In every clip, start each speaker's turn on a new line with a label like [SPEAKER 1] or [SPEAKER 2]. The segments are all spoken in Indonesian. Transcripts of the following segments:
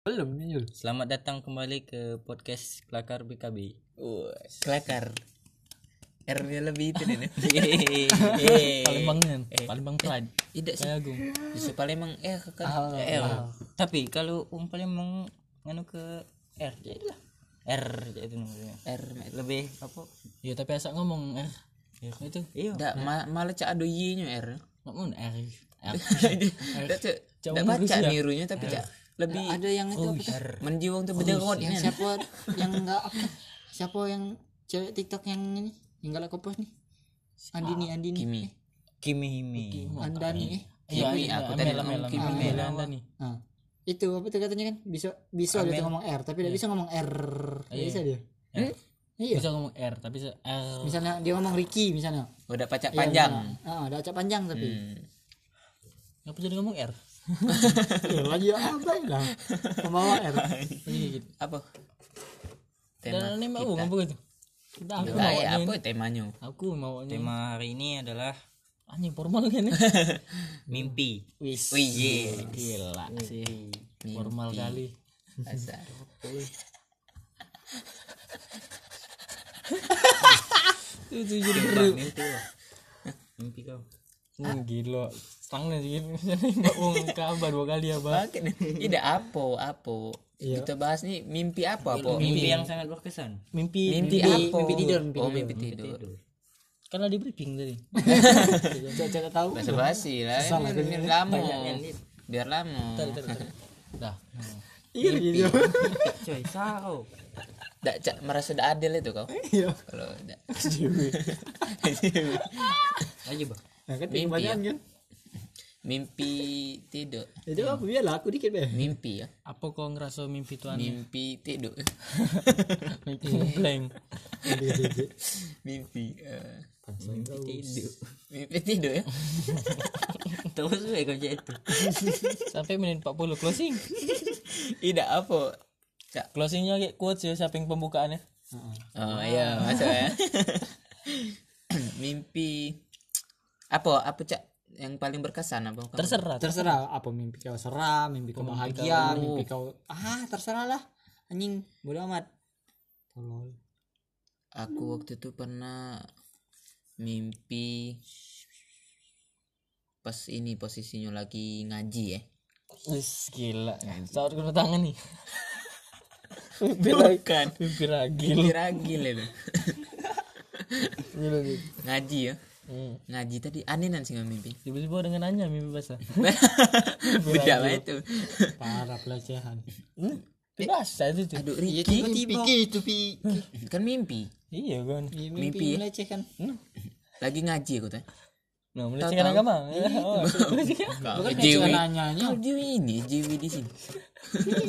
[SPEAKER 1] Belum nih.
[SPEAKER 2] Selamat datang kembali ke podcast Kelakar BKB.
[SPEAKER 3] Uh, kelakar. R-nya lebih itu nih.
[SPEAKER 2] Eh,
[SPEAKER 1] Palembangnya. Palembang Pride.
[SPEAKER 2] Tidak sih.
[SPEAKER 1] Saya Agung.
[SPEAKER 3] Justru Palembang eh kakak.
[SPEAKER 1] Al-
[SPEAKER 3] Eh,
[SPEAKER 1] Al.
[SPEAKER 2] Tapi kalau umpamanya meng nganu ke R ya itulah. R ya itu namanya.
[SPEAKER 3] R.
[SPEAKER 2] Lebih apa?
[SPEAKER 1] Ya tapi asal ngomong R. Ya itu.
[SPEAKER 2] Iya.
[SPEAKER 3] Enggak,
[SPEAKER 1] Nah.
[SPEAKER 3] ma- malah cak ado Y-nya R.
[SPEAKER 1] Ngomong R. R.
[SPEAKER 3] Enggak cak.
[SPEAKER 1] Cak
[SPEAKER 3] Enggak
[SPEAKER 1] ngurus
[SPEAKER 3] baca
[SPEAKER 1] ya?
[SPEAKER 3] nirunya tapi cak lebih
[SPEAKER 4] ada yang itu
[SPEAKER 3] Oh, iya.
[SPEAKER 4] apa tuh?
[SPEAKER 1] Oh,
[SPEAKER 3] menjiwang tuh
[SPEAKER 1] iya,
[SPEAKER 3] berderot
[SPEAKER 4] yang
[SPEAKER 3] ya.
[SPEAKER 4] siapa yang enggak apa siapa yang cewek TikTok yang ini yang galak kopos nih Andini Andini
[SPEAKER 3] Kimi.
[SPEAKER 2] Kimi Himi.
[SPEAKER 4] Andani eh
[SPEAKER 3] Kimi
[SPEAKER 1] Iya,
[SPEAKER 3] aku tadi
[SPEAKER 1] Mela
[SPEAKER 3] ngomong
[SPEAKER 1] Mela
[SPEAKER 3] Kimi.
[SPEAKER 1] Mela Anda nih.
[SPEAKER 4] Nah, itu apa tuh katanya kan bisa bisa dia tuh ngomong R tapi
[SPEAKER 3] Iya.
[SPEAKER 4] tidak bisa ngomong R Nggak bisa dia
[SPEAKER 1] Iya.
[SPEAKER 4] iya
[SPEAKER 1] Bisa ngomong R tapi se- R.
[SPEAKER 4] misalnya dia ngomong Ricky misalnya
[SPEAKER 3] Oh, Udah
[SPEAKER 1] Iya,
[SPEAKER 3] pacak panjang.
[SPEAKER 4] ah ada acak panjang tapi
[SPEAKER 3] Hmm.
[SPEAKER 1] Ngapa jadi ngomong R?
[SPEAKER 4] Ya, lagi apa ya lah pembawa R
[SPEAKER 1] Iya gitu.
[SPEAKER 3] Apa? Tema.
[SPEAKER 1] Dan ini mau ngomong gitu. Kita aku
[SPEAKER 3] Enggak, ya,
[SPEAKER 1] maunya
[SPEAKER 3] apa
[SPEAKER 1] ini.
[SPEAKER 3] temanya?
[SPEAKER 1] Aku maunya.
[SPEAKER 2] Iya. Tema hari ini adalah
[SPEAKER 1] Anjing formal kan ini.
[SPEAKER 2] mimpi.
[SPEAKER 1] Wis.
[SPEAKER 3] Wih, iya. yes.
[SPEAKER 1] Gila sih. Formal kali.
[SPEAKER 3] Asal.
[SPEAKER 1] Itu jadi
[SPEAKER 2] Bang, mimpi lah. Mimpi kau.
[SPEAKER 1] Hmm, gila. Stang nih gitu. Mbak Wong kabar dua kali ya, Bang.
[SPEAKER 3] Oke, tidak apa, apa. Kita bahas nih Iya. mimpi apa, apa?
[SPEAKER 2] Mimpi yang sangat berkesan.
[SPEAKER 1] Mimpi
[SPEAKER 3] mimpi apa? Mimpi tidur, mimpi, oh, mimpi tidur.
[SPEAKER 1] karena di kan briefing tadi.
[SPEAKER 4] cak tahu
[SPEAKER 3] Bahasa basi lah. ini lama. Biar lama.
[SPEAKER 1] Dah.
[SPEAKER 4] iya gitu
[SPEAKER 2] Coy, sao.
[SPEAKER 3] Dak cak merasa dak adil itu kau. Kalau dak
[SPEAKER 2] Aja, Bang.
[SPEAKER 4] nah kan
[SPEAKER 3] Mimpi,
[SPEAKER 4] banyak
[SPEAKER 3] ya.
[SPEAKER 4] kan
[SPEAKER 3] mimpi tidur,
[SPEAKER 4] itu apa "Oh, biar lah aku dikit deh
[SPEAKER 3] mimpi ya.
[SPEAKER 1] Apa kau ngerasa mimpi tuan?
[SPEAKER 3] Mimpi tidur.
[SPEAKER 1] Mimpi blank.
[SPEAKER 3] mimpi eh, mimpi tidur ya.
[SPEAKER 2] Terus gue kau jadi itu.
[SPEAKER 1] Sampai menit 40 closing.
[SPEAKER 3] Tidak apa. Cak.
[SPEAKER 1] Closingnya kayak quotes ya samping pembukaannya.
[SPEAKER 4] Ah,
[SPEAKER 3] Oh iya, masuk ya. mimpi apa apa cak yang paling berkesan apa? Kamu?
[SPEAKER 1] Terserah.
[SPEAKER 4] terserah apa mimpi kau seram mimpi
[SPEAKER 3] Oh,
[SPEAKER 4] kau bahagia mimpi kau ah terserah lah anjing bodo amat tolol
[SPEAKER 3] Aku waktu itu pernah mimpi pas ini posisinya lagi ngaji ya.
[SPEAKER 1] Wis gila. Saat kena tangan nih.
[SPEAKER 3] Bukan.
[SPEAKER 1] Mimpi lagi.
[SPEAKER 3] Mimpi ragil itu.
[SPEAKER 1] Gila gitu.
[SPEAKER 3] ngaji ya.
[SPEAKER 1] Hmm.
[SPEAKER 3] Ngaji tadi aneh nan sih nggak mimpi.
[SPEAKER 1] Tiba-tiba dengan nanya mimpi basah.
[SPEAKER 3] Beda lah itu.
[SPEAKER 4] parah pelecehan
[SPEAKER 1] Basah itu. tuh.
[SPEAKER 3] Aduh Ricky
[SPEAKER 4] itu pi
[SPEAKER 3] kan mimpi.
[SPEAKER 1] Iya kan.
[SPEAKER 3] Mimpi, ya?
[SPEAKER 4] mimpi melecehkan
[SPEAKER 3] Lagi ngaji aku tadi.
[SPEAKER 1] Nah, melecehkan
[SPEAKER 3] Tahu-tahu.
[SPEAKER 1] agama. Oh, melecehkan.
[SPEAKER 3] Kau
[SPEAKER 4] Jiwi
[SPEAKER 3] jiwi.
[SPEAKER 4] nanyanya
[SPEAKER 3] Kau jiwi ini jiwi di sini.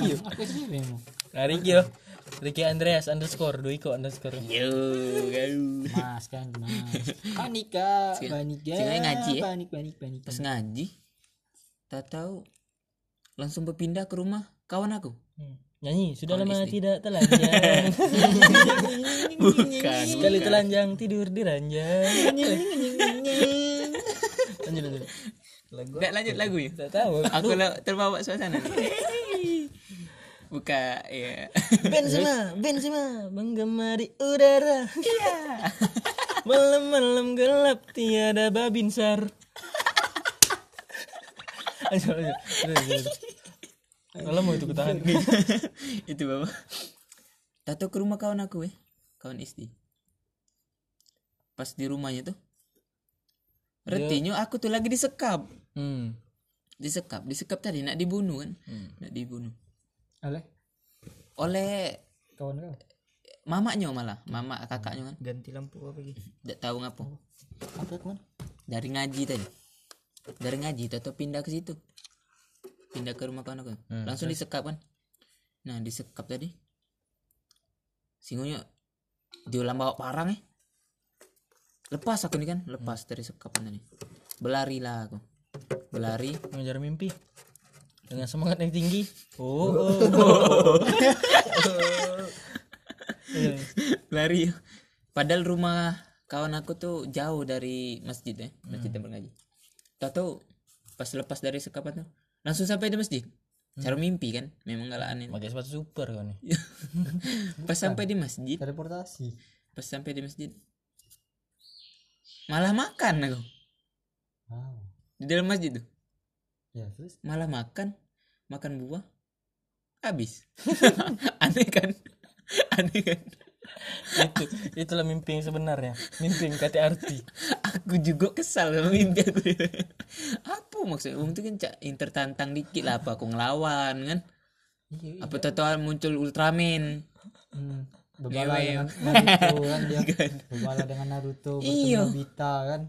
[SPEAKER 3] Iya,
[SPEAKER 4] aku sendiri emang
[SPEAKER 1] Nah, Ricky loh. Ricky Andreas underscore Duiko underscore.
[SPEAKER 3] Yo, kau.
[SPEAKER 4] mas kan mas panik kak panik ya
[SPEAKER 3] Seenggaknya ngaji, ya?
[SPEAKER 4] panik panik panik
[SPEAKER 3] pas ngaji tak tahu langsung berpindah ke rumah kawan aku
[SPEAKER 1] Hmm. Nyanyi, sudah lama tidak telanjang.
[SPEAKER 3] bukan
[SPEAKER 1] Sekali telanjang tidur di ranjang. lanjut lanjut.
[SPEAKER 3] nggak lanjut lagu ya
[SPEAKER 1] Tidak tahu.
[SPEAKER 3] aku lah terbawa suasana buka ya
[SPEAKER 1] Benzema, Benzema menggemari udara.
[SPEAKER 2] Iya.
[SPEAKER 1] Malam-malam gelap tiada babinsar. Ayo, ayo, ayo, ayo. Kalau mau itu kutahan.
[SPEAKER 3] itu bawa tak tahu ke rumah kawan aku ya kawan istri pas di rumahnya tuh retinya aku tuh lagi disekap
[SPEAKER 1] Hmm.
[SPEAKER 3] disekap disekap tadi nak dibunuh kan nak dibunuh
[SPEAKER 4] oleh
[SPEAKER 3] oleh
[SPEAKER 4] kawan kau
[SPEAKER 3] mamaknya malah mamak kakaknya kan
[SPEAKER 2] Ganti lampu apa lagi?
[SPEAKER 3] tidak tahu ngapa
[SPEAKER 4] apa kawan
[SPEAKER 3] dari ngaji tadi dari ngaji atau pindah ke situ pindah ke rumah kawan aku langsung disekap kan nah disekap tadi singgunya diulang bawa parang eh lepas aku nih kan lepas dari sekapan tadi belari lah aku belari
[SPEAKER 1] Mengejar mimpi dengan semangat yang tinggi. Oh, oh.
[SPEAKER 3] lari padahal rumah kawan aku tuh jauh dari masjid ya masjid tempat ngaji tahu pas lepas dari sekapan tuh langsung sampai di masjid cara mimpi kan memang gak aneh
[SPEAKER 2] pakai sepatu super kau nih
[SPEAKER 3] pas sampai di masjid
[SPEAKER 4] teleportasi
[SPEAKER 3] pas sampai di masjid malah makan aku
[SPEAKER 4] wow
[SPEAKER 3] di dalam masjid tuh
[SPEAKER 4] ya terus
[SPEAKER 3] malah makan makan buah habis aneh kan aneh kan
[SPEAKER 1] itu itulah mimpi yang sebenarnya mimpi yang kata arti
[SPEAKER 3] aku juga kesal sama mimpi aku apa maksudnya untung kan cak inter tantang dikit lah apa aku ngelawan kan
[SPEAKER 4] iya
[SPEAKER 3] apa tahu muncul Ultraman
[SPEAKER 4] hmm. berbala
[SPEAKER 3] Dewa,
[SPEAKER 4] dengan Naruto kan dia berbala dengan Naruto
[SPEAKER 3] Iya.
[SPEAKER 4] bertemu Bita kan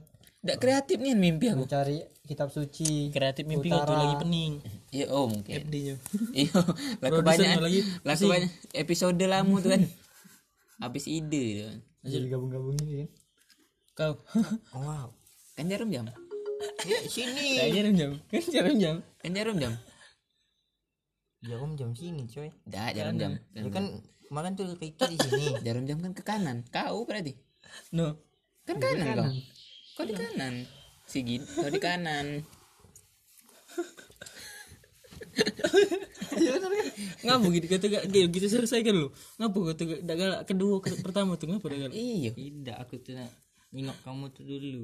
[SPEAKER 3] tidak kreatif nih mimpi aku
[SPEAKER 4] mencari kitab suci
[SPEAKER 1] kreatif mimpi kau tuh lagi pening
[SPEAKER 3] iya oh mungkin
[SPEAKER 1] dia
[SPEAKER 3] iya lah
[SPEAKER 1] Produser
[SPEAKER 3] kebanyakan
[SPEAKER 1] lagi
[SPEAKER 3] lah kebanyakan episode lamu tuh kan habis ide tuh kan.
[SPEAKER 4] jadi gabung-gabungin kan
[SPEAKER 1] kau
[SPEAKER 4] wow
[SPEAKER 3] kan jarum jam
[SPEAKER 1] kan jarum jam kan jarum jam
[SPEAKER 3] kan jarum jam
[SPEAKER 2] ya aku jam sini coy
[SPEAKER 3] dah jarum jam
[SPEAKER 2] ya kan makan tuh kayak di sini
[SPEAKER 3] jarum jam kan ke kanan kau berarti
[SPEAKER 1] no
[SPEAKER 3] kan kanan, kau kau di kanan sigit kau di kanan
[SPEAKER 1] ngapa gitu kata gak gitu, gitu selesai kan lo ngapa kata gak gak galak kedua ke- pertama tuh ngapa gak galak
[SPEAKER 3] iya
[SPEAKER 2] tidak aku tuh nak nengok kamu tuh dulu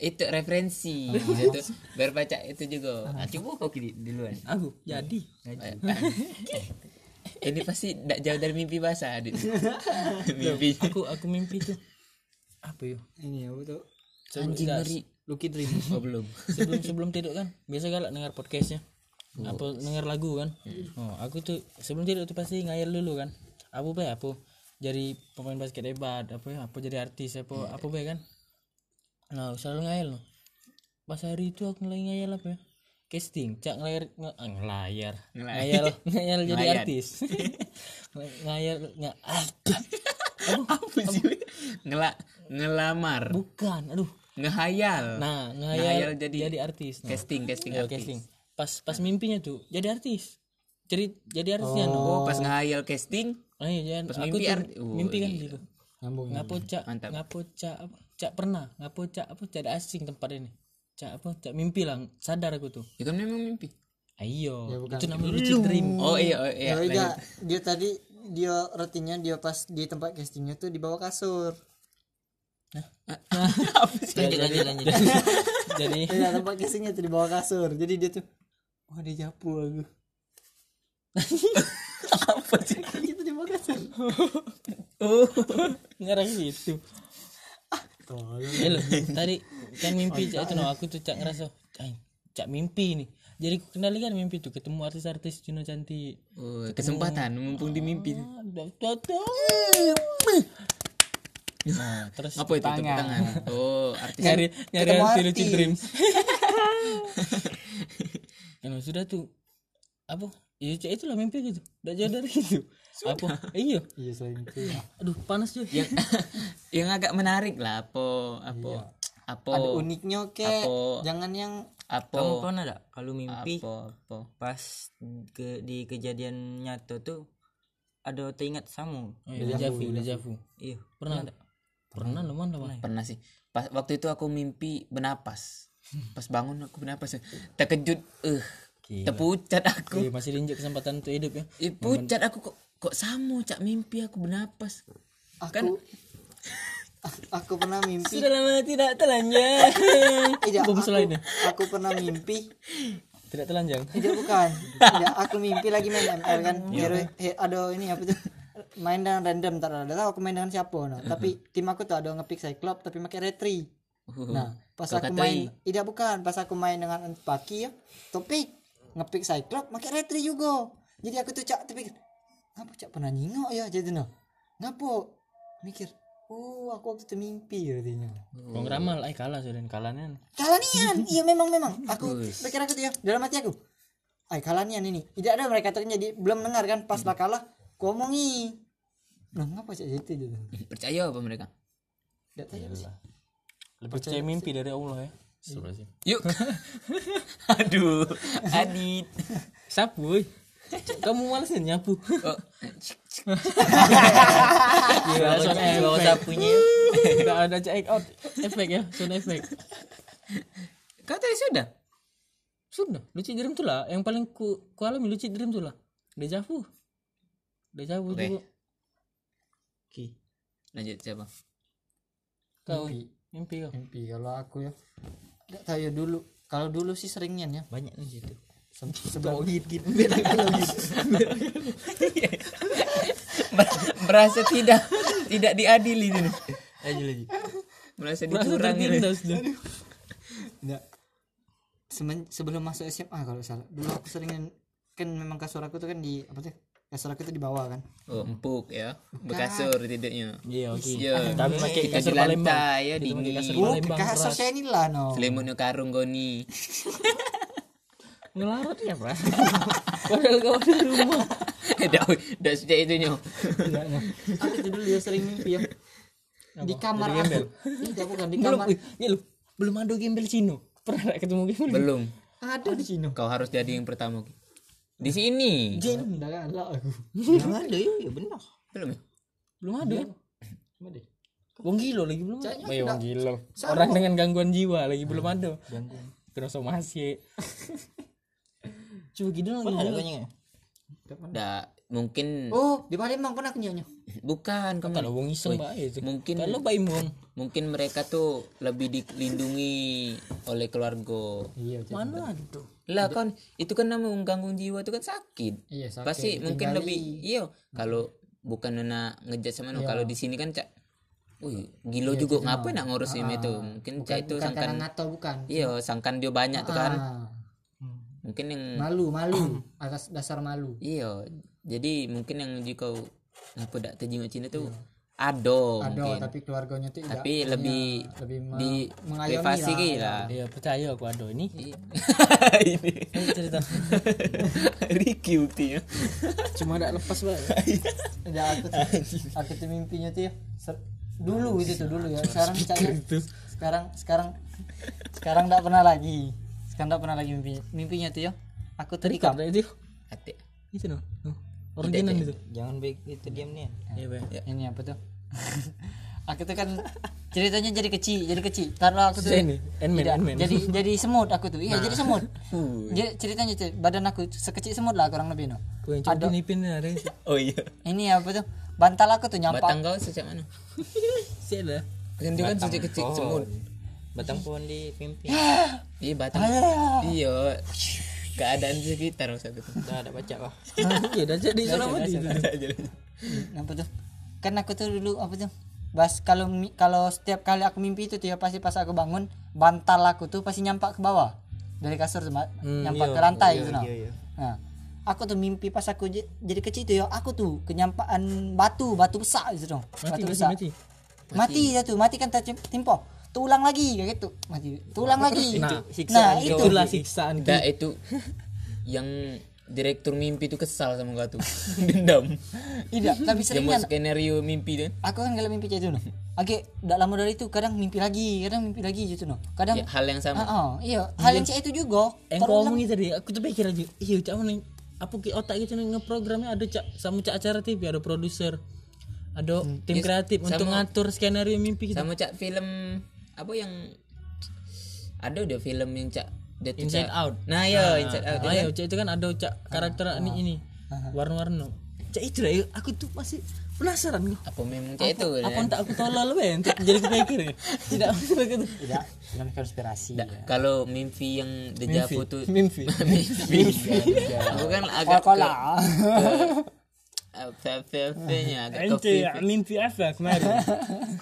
[SPEAKER 3] Eh, itu referensi itu berbaca itu juga Ah,
[SPEAKER 2] nah, coba kau kiri duluan
[SPEAKER 1] aku jadi
[SPEAKER 3] ini pasti tidak jauh dari mimpi basah adit mimpi
[SPEAKER 1] aku aku mimpi tuh apa ya
[SPEAKER 4] ini ya betul
[SPEAKER 3] anjing ngeri
[SPEAKER 1] Lucky Dream oh, belum sebelum sebelum tidur kan biasa galak dengar podcastnya apa dengar lagu kan
[SPEAKER 3] Hmm.
[SPEAKER 1] oh, aku tuh sebelum tidur tuh pasti ngayal dulu kan apa be apa jadi pemain basket hebat apa ya apa jadi artis apa
[SPEAKER 3] Hmm.
[SPEAKER 1] apa be kan nah selalu ngayal loh pas hari itu aku lagi ngayal apa ya casting cak ngelayar nge- ah, ngelayar ngayal ngayal jadi artis ngayal nggak
[SPEAKER 3] apa sih weh? Ngela, ngelamar
[SPEAKER 1] bukan aduh
[SPEAKER 3] ngehayal
[SPEAKER 1] nah ngayal,
[SPEAKER 3] Ngayal
[SPEAKER 1] jadi,
[SPEAKER 3] jadi-
[SPEAKER 1] artis nah.
[SPEAKER 3] casting casting
[SPEAKER 1] Iya,
[SPEAKER 3] artis.
[SPEAKER 1] casting. Pas pas mimpinya tuh jadi artis. Jadi jadi kan. artisnya
[SPEAKER 3] oh pas ngehayal casting
[SPEAKER 1] no. Ayo jangan
[SPEAKER 3] pas
[SPEAKER 1] oh aku
[SPEAKER 3] mimpi
[SPEAKER 1] tuh
[SPEAKER 3] art- oh,
[SPEAKER 1] mimpi kan
[SPEAKER 3] iya. Hmm.
[SPEAKER 1] gitu.
[SPEAKER 4] nyambung
[SPEAKER 1] Ngapo cak,
[SPEAKER 3] Mantap.
[SPEAKER 1] ngapo cak, apa? cak pernah, ngapo cak apa cak ada asing tempat ini. Cak apa cak mimpi lah, sadar aku tuh.
[SPEAKER 3] itu kan memang mimpi
[SPEAKER 1] Ayo,
[SPEAKER 3] Ya,
[SPEAKER 1] itu namanya lucid dream.
[SPEAKER 3] oh iya oh iya
[SPEAKER 4] ya udah dia tadi dia rotinya dia pas di tempat castingnya tuh di bawah kasur
[SPEAKER 1] Jadi jadi
[SPEAKER 4] Iya tempat castingnya tuh di bawah kasur jadi dia tuh wah dia japu aku
[SPEAKER 3] apa sih
[SPEAKER 4] kita di bawah kasur
[SPEAKER 3] oh
[SPEAKER 1] ngarang gitu.
[SPEAKER 4] tolong
[SPEAKER 1] Ya loh, tadi kan mimpi cak itu no, aku tuh cak ngerasa "Ay, cak mimpi nih. Jadi ku kendalikan mimpi tuh ketemu artis-artis Juno cantik.
[SPEAKER 3] Oh, kesempatan mumpung di mimpi
[SPEAKER 1] Ada tuh. Nah, terus
[SPEAKER 3] apa itu tepuk tangan oh artis
[SPEAKER 1] nyari nyari arti lucid dream. Nah, sudah tuh apa? Ya cak itulah mimpi gitu. Enggak jauh dari itu. Apa? Iya.
[SPEAKER 4] iya selain itu ya.
[SPEAKER 1] Aduh, panas cuy.
[SPEAKER 3] yang yang agak menarik lah apa apa apa
[SPEAKER 4] ada uniknya oke
[SPEAKER 3] Apo.
[SPEAKER 4] jangan yang
[SPEAKER 3] apa
[SPEAKER 2] kamu pernah tak kalau mimpi
[SPEAKER 3] apa apa
[SPEAKER 2] pas ke di kejadian nyata tuh ada teringat samu
[SPEAKER 1] Iya, dejavu, dejavu.
[SPEAKER 2] iya
[SPEAKER 1] Pernah enggak? Pernah lu mana lah.
[SPEAKER 3] pernah sih pas waktu itu aku mimpi bernapas pas bangun aku bernapas ya. terkejut eh terpucat
[SPEAKER 1] Iya,
[SPEAKER 3] aku
[SPEAKER 1] masih diinjak kesempatan untuk hidup ya.
[SPEAKER 3] eh, pucat aku kok kok sama cak mimpi aku bernapas
[SPEAKER 4] aku
[SPEAKER 3] Kan-
[SPEAKER 4] A- aku pernah mimpi
[SPEAKER 1] Sudah lama tidak telanjang.
[SPEAKER 4] Iya,
[SPEAKER 1] Bom selain ya.
[SPEAKER 4] aku pernah mimpi
[SPEAKER 1] Tidak telanjang.
[SPEAKER 4] Tidak bukan. Tidak, aku mimpi lagi main ML kan. Hero, he- aduh ini apa tuh? Main dengan random tak ada tahu aku main dengan siapa no. Tapi tim aku tuh ada ngepick Cyclops tapi pakai Retri. Nah, pas
[SPEAKER 3] Kau
[SPEAKER 4] aku
[SPEAKER 3] katai.
[SPEAKER 4] main tidak bukan, pas aku main dengan Paki ya, topik ngepick Cyclops pakai Retri juga. Jadi aku tuh cak tapi ngapa cak pernah nyingok ya jadi no. Ngapo? Mikir, "Oh, aku waktu itu mimpi katanya."
[SPEAKER 1] Bang Ramal ay kalah sudah kalahnya.
[SPEAKER 4] Kalanian, iya memang memang. Aku pikir aku tuh ya dalam hati aku. Ay kalanian ini. Tidak ada mereka tuh jadi belum dengar kan pas lah kalah ku omongi. Nah, ngapa sih itu gitu?
[SPEAKER 3] percaya apa mereka
[SPEAKER 4] Enggak tahu.
[SPEAKER 1] Lebih percaya mimpi dari Allah ya.
[SPEAKER 3] yuk aduh adit
[SPEAKER 1] Sapu. woy. Kamu malas kan nyapu.
[SPEAKER 3] oh,
[SPEAKER 1] Gila, sound
[SPEAKER 2] bawa
[SPEAKER 1] effect.
[SPEAKER 2] sapunya
[SPEAKER 1] Tidak ada check out efek ya, sound effect.
[SPEAKER 3] kau tadi sudah
[SPEAKER 1] sudah lucid dream tu lah yang paling ku, ku alami lucid dream tu lah deja vu deja vu
[SPEAKER 3] Oke.
[SPEAKER 1] juga
[SPEAKER 3] Oke. Lanjut siapa?
[SPEAKER 1] kau mimpi kau
[SPEAKER 4] mimpi kalau aku ya nggak tahu ya dulu kalau dulu sih seringnya ya
[SPEAKER 2] banyak di situ
[SPEAKER 4] se- sebelum
[SPEAKER 2] gitu
[SPEAKER 3] Merasa tidak tidak diadili ini.
[SPEAKER 2] aja lagi
[SPEAKER 1] merasa
[SPEAKER 3] Merasa dicurangi. ini.
[SPEAKER 1] tertindas dia
[SPEAKER 4] nggak Semen- sebelum masuk SMA kalau salah dulu aku sering kan memang kasur aku tuh kan di apa tuh kasur aku tuh di bawah kan
[SPEAKER 3] Oh, empuk ya. Berkasur tidaknya.
[SPEAKER 1] iya oke
[SPEAKER 3] Ya.
[SPEAKER 1] tapi pakai
[SPEAKER 3] Kita di
[SPEAKER 1] kasur Palembang
[SPEAKER 3] lantai ya
[SPEAKER 1] Kita pakai kasur Palembang.
[SPEAKER 3] dingin.
[SPEAKER 4] oh ke kasur
[SPEAKER 1] keras.
[SPEAKER 4] saya ini lah no
[SPEAKER 3] Selimutnya karung goni.
[SPEAKER 1] ngelarut ya bro padahal kau di rumah
[SPEAKER 3] Dah dah sejak itu nyo.
[SPEAKER 4] aku tuh dulu ya sering mimpi ya di kamar aku tidak bukan di
[SPEAKER 1] belum
[SPEAKER 4] kamar
[SPEAKER 1] ih, ya lu belum ada gembel Cino pernah tak ketemu gembel
[SPEAKER 3] Belum.
[SPEAKER 4] ada di sini
[SPEAKER 3] Kau harus jadi yang pertama. Ki. Di sini.
[SPEAKER 4] Jen, udah galak aku.
[SPEAKER 2] nggak ada ya ya benar
[SPEAKER 3] Belum. ya?
[SPEAKER 1] belum ada Wong gilo lagi belum ada.
[SPEAKER 2] iya,
[SPEAKER 1] Eh, wong gilo.
[SPEAKER 4] Sama.
[SPEAKER 1] Orang dengan gangguan jiwa lagi belum ada. Kena somasi. Coba gitu dong.
[SPEAKER 2] ada kau nyanyi
[SPEAKER 3] Dah mungkin
[SPEAKER 4] Oh, di Palembang pernah aku nyanyi.
[SPEAKER 3] bukan kamu.
[SPEAKER 1] Kalau wong iseng bae itu.
[SPEAKER 3] Mungkin
[SPEAKER 1] Kalau bae wong.
[SPEAKER 3] mungkin mereka tuh lebih dilindungi oleh keluarga.
[SPEAKER 4] Iya,
[SPEAKER 1] Mana ada?
[SPEAKER 3] Lah kan itu kan namanya mengganggu jiwa itu kan sakit.
[SPEAKER 4] Iya, sakit.
[SPEAKER 3] Pasti mungkin
[SPEAKER 4] Tinggali.
[SPEAKER 3] lebih iya kalau bukan nona ngejat sama
[SPEAKER 4] Iya.
[SPEAKER 3] nona kalau di sini kan cak Wih, gilo juga ngapain nak ngurusin itu? Mungkin cak itu
[SPEAKER 4] Ah, bukan karena
[SPEAKER 3] sangkan
[SPEAKER 4] ngatal bukan.
[SPEAKER 3] iya, sangkan dia banyak tuh kan.
[SPEAKER 4] Ah,
[SPEAKER 3] Mungkin yang
[SPEAKER 4] malu, malu. Atas dasar malu.
[SPEAKER 3] iya, jadi mungkin yang jika apa dak terjenguk Cina tuh ado
[SPEAKER 4] Ada,
[SPEAKER 3] mungkin.
[SPEAKER 4] Iya. tapi keluarganya tuh tidak
[SPEAKER 3] Tapi lebih
[SPEAKER 4] lebih me-
[SPEAKER 3] di
[SPEAKER 4] mengayomi
[SPEAKER 3] privasi
[SPEAKER 4] lah.
[SPEAKER 3] ki lah.
[SPEAKER 1] Ya percaya aku ada ini.
[SPEAKER 3] Iya. Ini
[SPEAKER 1] Eh, cerita.
[SPEAKER 3] Ricky buktinya.
[SPEAKER 1] Cuma tak lepas bae.
[SPEAKER 4] Ada aku tuh, aku tuh mimpinya tuh ya. ser- dulu itu tuh dulu ya. Sekarang saya sekarang sekarang sekarang tidak pernah lagi. Sekarang tidak pernah lagi mimpinya. Mimpinya tuh ya. Aku
[SPEAKER 1] Tadi
[SPEAKER 4] terikat.
[SPEAKER 1] kata itu.
[SPEAKER 3] Hati.
[SPEAKER 1] Itu noh. Original itu.
[SPEAKER 2] jangan baik itu diam nih
[SPEAKER 1] Iya bae.
[SPEAKER 4] Ini apa tuh? aku tuh kan ceritanya jadi kecil, jadi kecil. Taruh aku tuh.
[SPEAKER 1] Ini Enmen
[SPEAKER 4] Tidak,
[SPEAKER 1] Enmen.
[SPEAKER 4] jadi jadi semut aku tuh. Iya, jadi semut. Jadi ceritanya tuh, badan aku sekecil semut lah kurang lebih no.
[SPEAKER 1] Kau yang coba nipin ada.
[SPEAKER 3] Oh iya.
[SPEAKER 4] Ini apa tuh? Bantal aku tuh nyampak.
[SPEAKER 3] Batang kau sejak mana?
[SPEAKER 1] Si ada.
[SPEAKER 3] Kan dia kan sejak kecil
[SPEAKER 2] Oh,
[SPEAKER 3] semut.
[SPEAKER 2] iya. batang pohon di mimpi
[SPEAKER 3] Iya
[SPEAKER 1] Ah,
[SPEAKER 3] batang. Iya. Keadaan sekitar gitu. maksud aku.
[SPEAKER 2] dah ada baca lah
[SPEAKER 1] Iya dah jadi selama di.
[SPEAKER 4] Apa tuh? Kan aku tuh dulu apa tuh? Bas kalau mi- kalau setiap kali aku mimpi itu tuh ya pasti pas aku bangun bantal aku tuh pasti nyampak ke bawah dari kasur tuh, Ma.
[SPEAKER 1] Hmm,
[SPEAKER 4] nyampak ke lantai gitu no. Nah, aku tuh mimpi pas aku je- jadi kecil tuh ya aku tuh kenyampaan batu batu besar gitu dong
[SPEAKER 1] Mati Nah,
[SPEAKER 4] batu
[SPEAKER 1] mati
[SPEAKER 4] besar
[SPEAKER 1] mati.
[SPEAKER 4] mati ya tuh mati kan tertimpa tulang lagi kayak gitu mati tulang lagi
[SPEAKER 1] Nah,
[SPEAKER 4] nah
[SPEAKER 1] siksaan
[SPEAKER 4] itu
[SPEAKER 1] itulah siksaan
[SPEAKER 3] Dah itu yang direktur mimpi itu kesal sama kau tuh. Dendam.
[SPEAKER 4] tidak tapi
[SPEAKER 3] Dia
[SPEAKER 4] sering
[SPEAKER 3] mau
[SPEAKER 4] kan
[SPEAKER 3] skenario mimpi kan.
[SPEAKER 4] aku kan kalau mimpi kayak itu no Oke, tidak lama dari itu kadang mimpi lagi, kadang mimpi lagi gitu no. Kadang
[SPEAKER 3] Ya, hal yang sama.
[SPEAKER 4] Ah, ah, iya, hal yang cek itu juga.
[SPEAKER 1] Yang kau ngomong itu tadi, aku tuh pikir aja, iya cak mana apa ki otak kita nih ngeprogramnya ada cak sama cak acara TV ada produser, ada tim kreatif untuk ngatur skenario mimpi gitu. kita.
[SPEAKER 3] Sama cak film apa yang ada udah film yang cak dia tuh
[SPEAKER 1] Inside
[SPEAKER 3] cak-
[SPEAKER 1] Out.
[SPEAKER 3] Nah, ya Inside Out.
[SPEAKER 1] Ah, ya, Ah, cak itu kan ada cak karakter ini ini warna-warna. Cak itu lah, ya, aku tuh masih penasaran.
[SPEAKER 3] Apa memang cak itu?
[SPEAKER 1] Ah,
[SPEAKER 3] ya.
[SPEAKER 1] Apa entah aku tolol lebih untuk jadi kepikir ya? Tidak masuk gitu.
[SPEAKER 4] Tidak, film konspirasi.
[SPEAKER 3] Dah, Kalau mimpi yang deja vu tuh
[SPEAKER 1] Iya. Mimpi.
[SPEAKER 3] Aku kan agak ke, ke FFV-nya agak ke
[SPEAKER 1] Ente mimpi apa kemarin?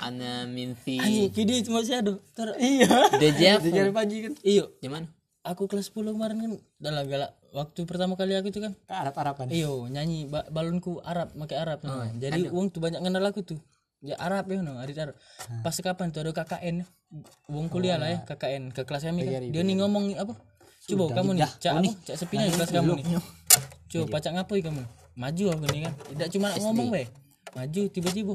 [SPEAKER 3] Ana mimpi
[SPEAKER 1] Iya, kini cuma shadow. Tar- Iya.
[SPEAKER 3] Deja vu
[SPEAKER 1] pagi kan. Iya,
[SPEAKER 3] Gimana?
[SPEAKER 1] aku kelas 10 kemarin kan dalam galak waktu pertama kali aku itu kan
[SPEAKER 4] Arab-araban.
[SPEAKER 1] iyo nyanyi ba- balonku Arab pakai Arab no. jadi uang tuh banyak kenal aku tuh ya Arab ya no hari Arab pas kapan tuh ada KKN uang kuliah lah ya KKN ke kelas kami kan dia nih ngomong apa coba kamu nih cak apa? cak sepina di kelas kamu nih coba pacak ngapoi kamu maju aku nih kan tidak cuma nak ngomong weh maju tiba-tiba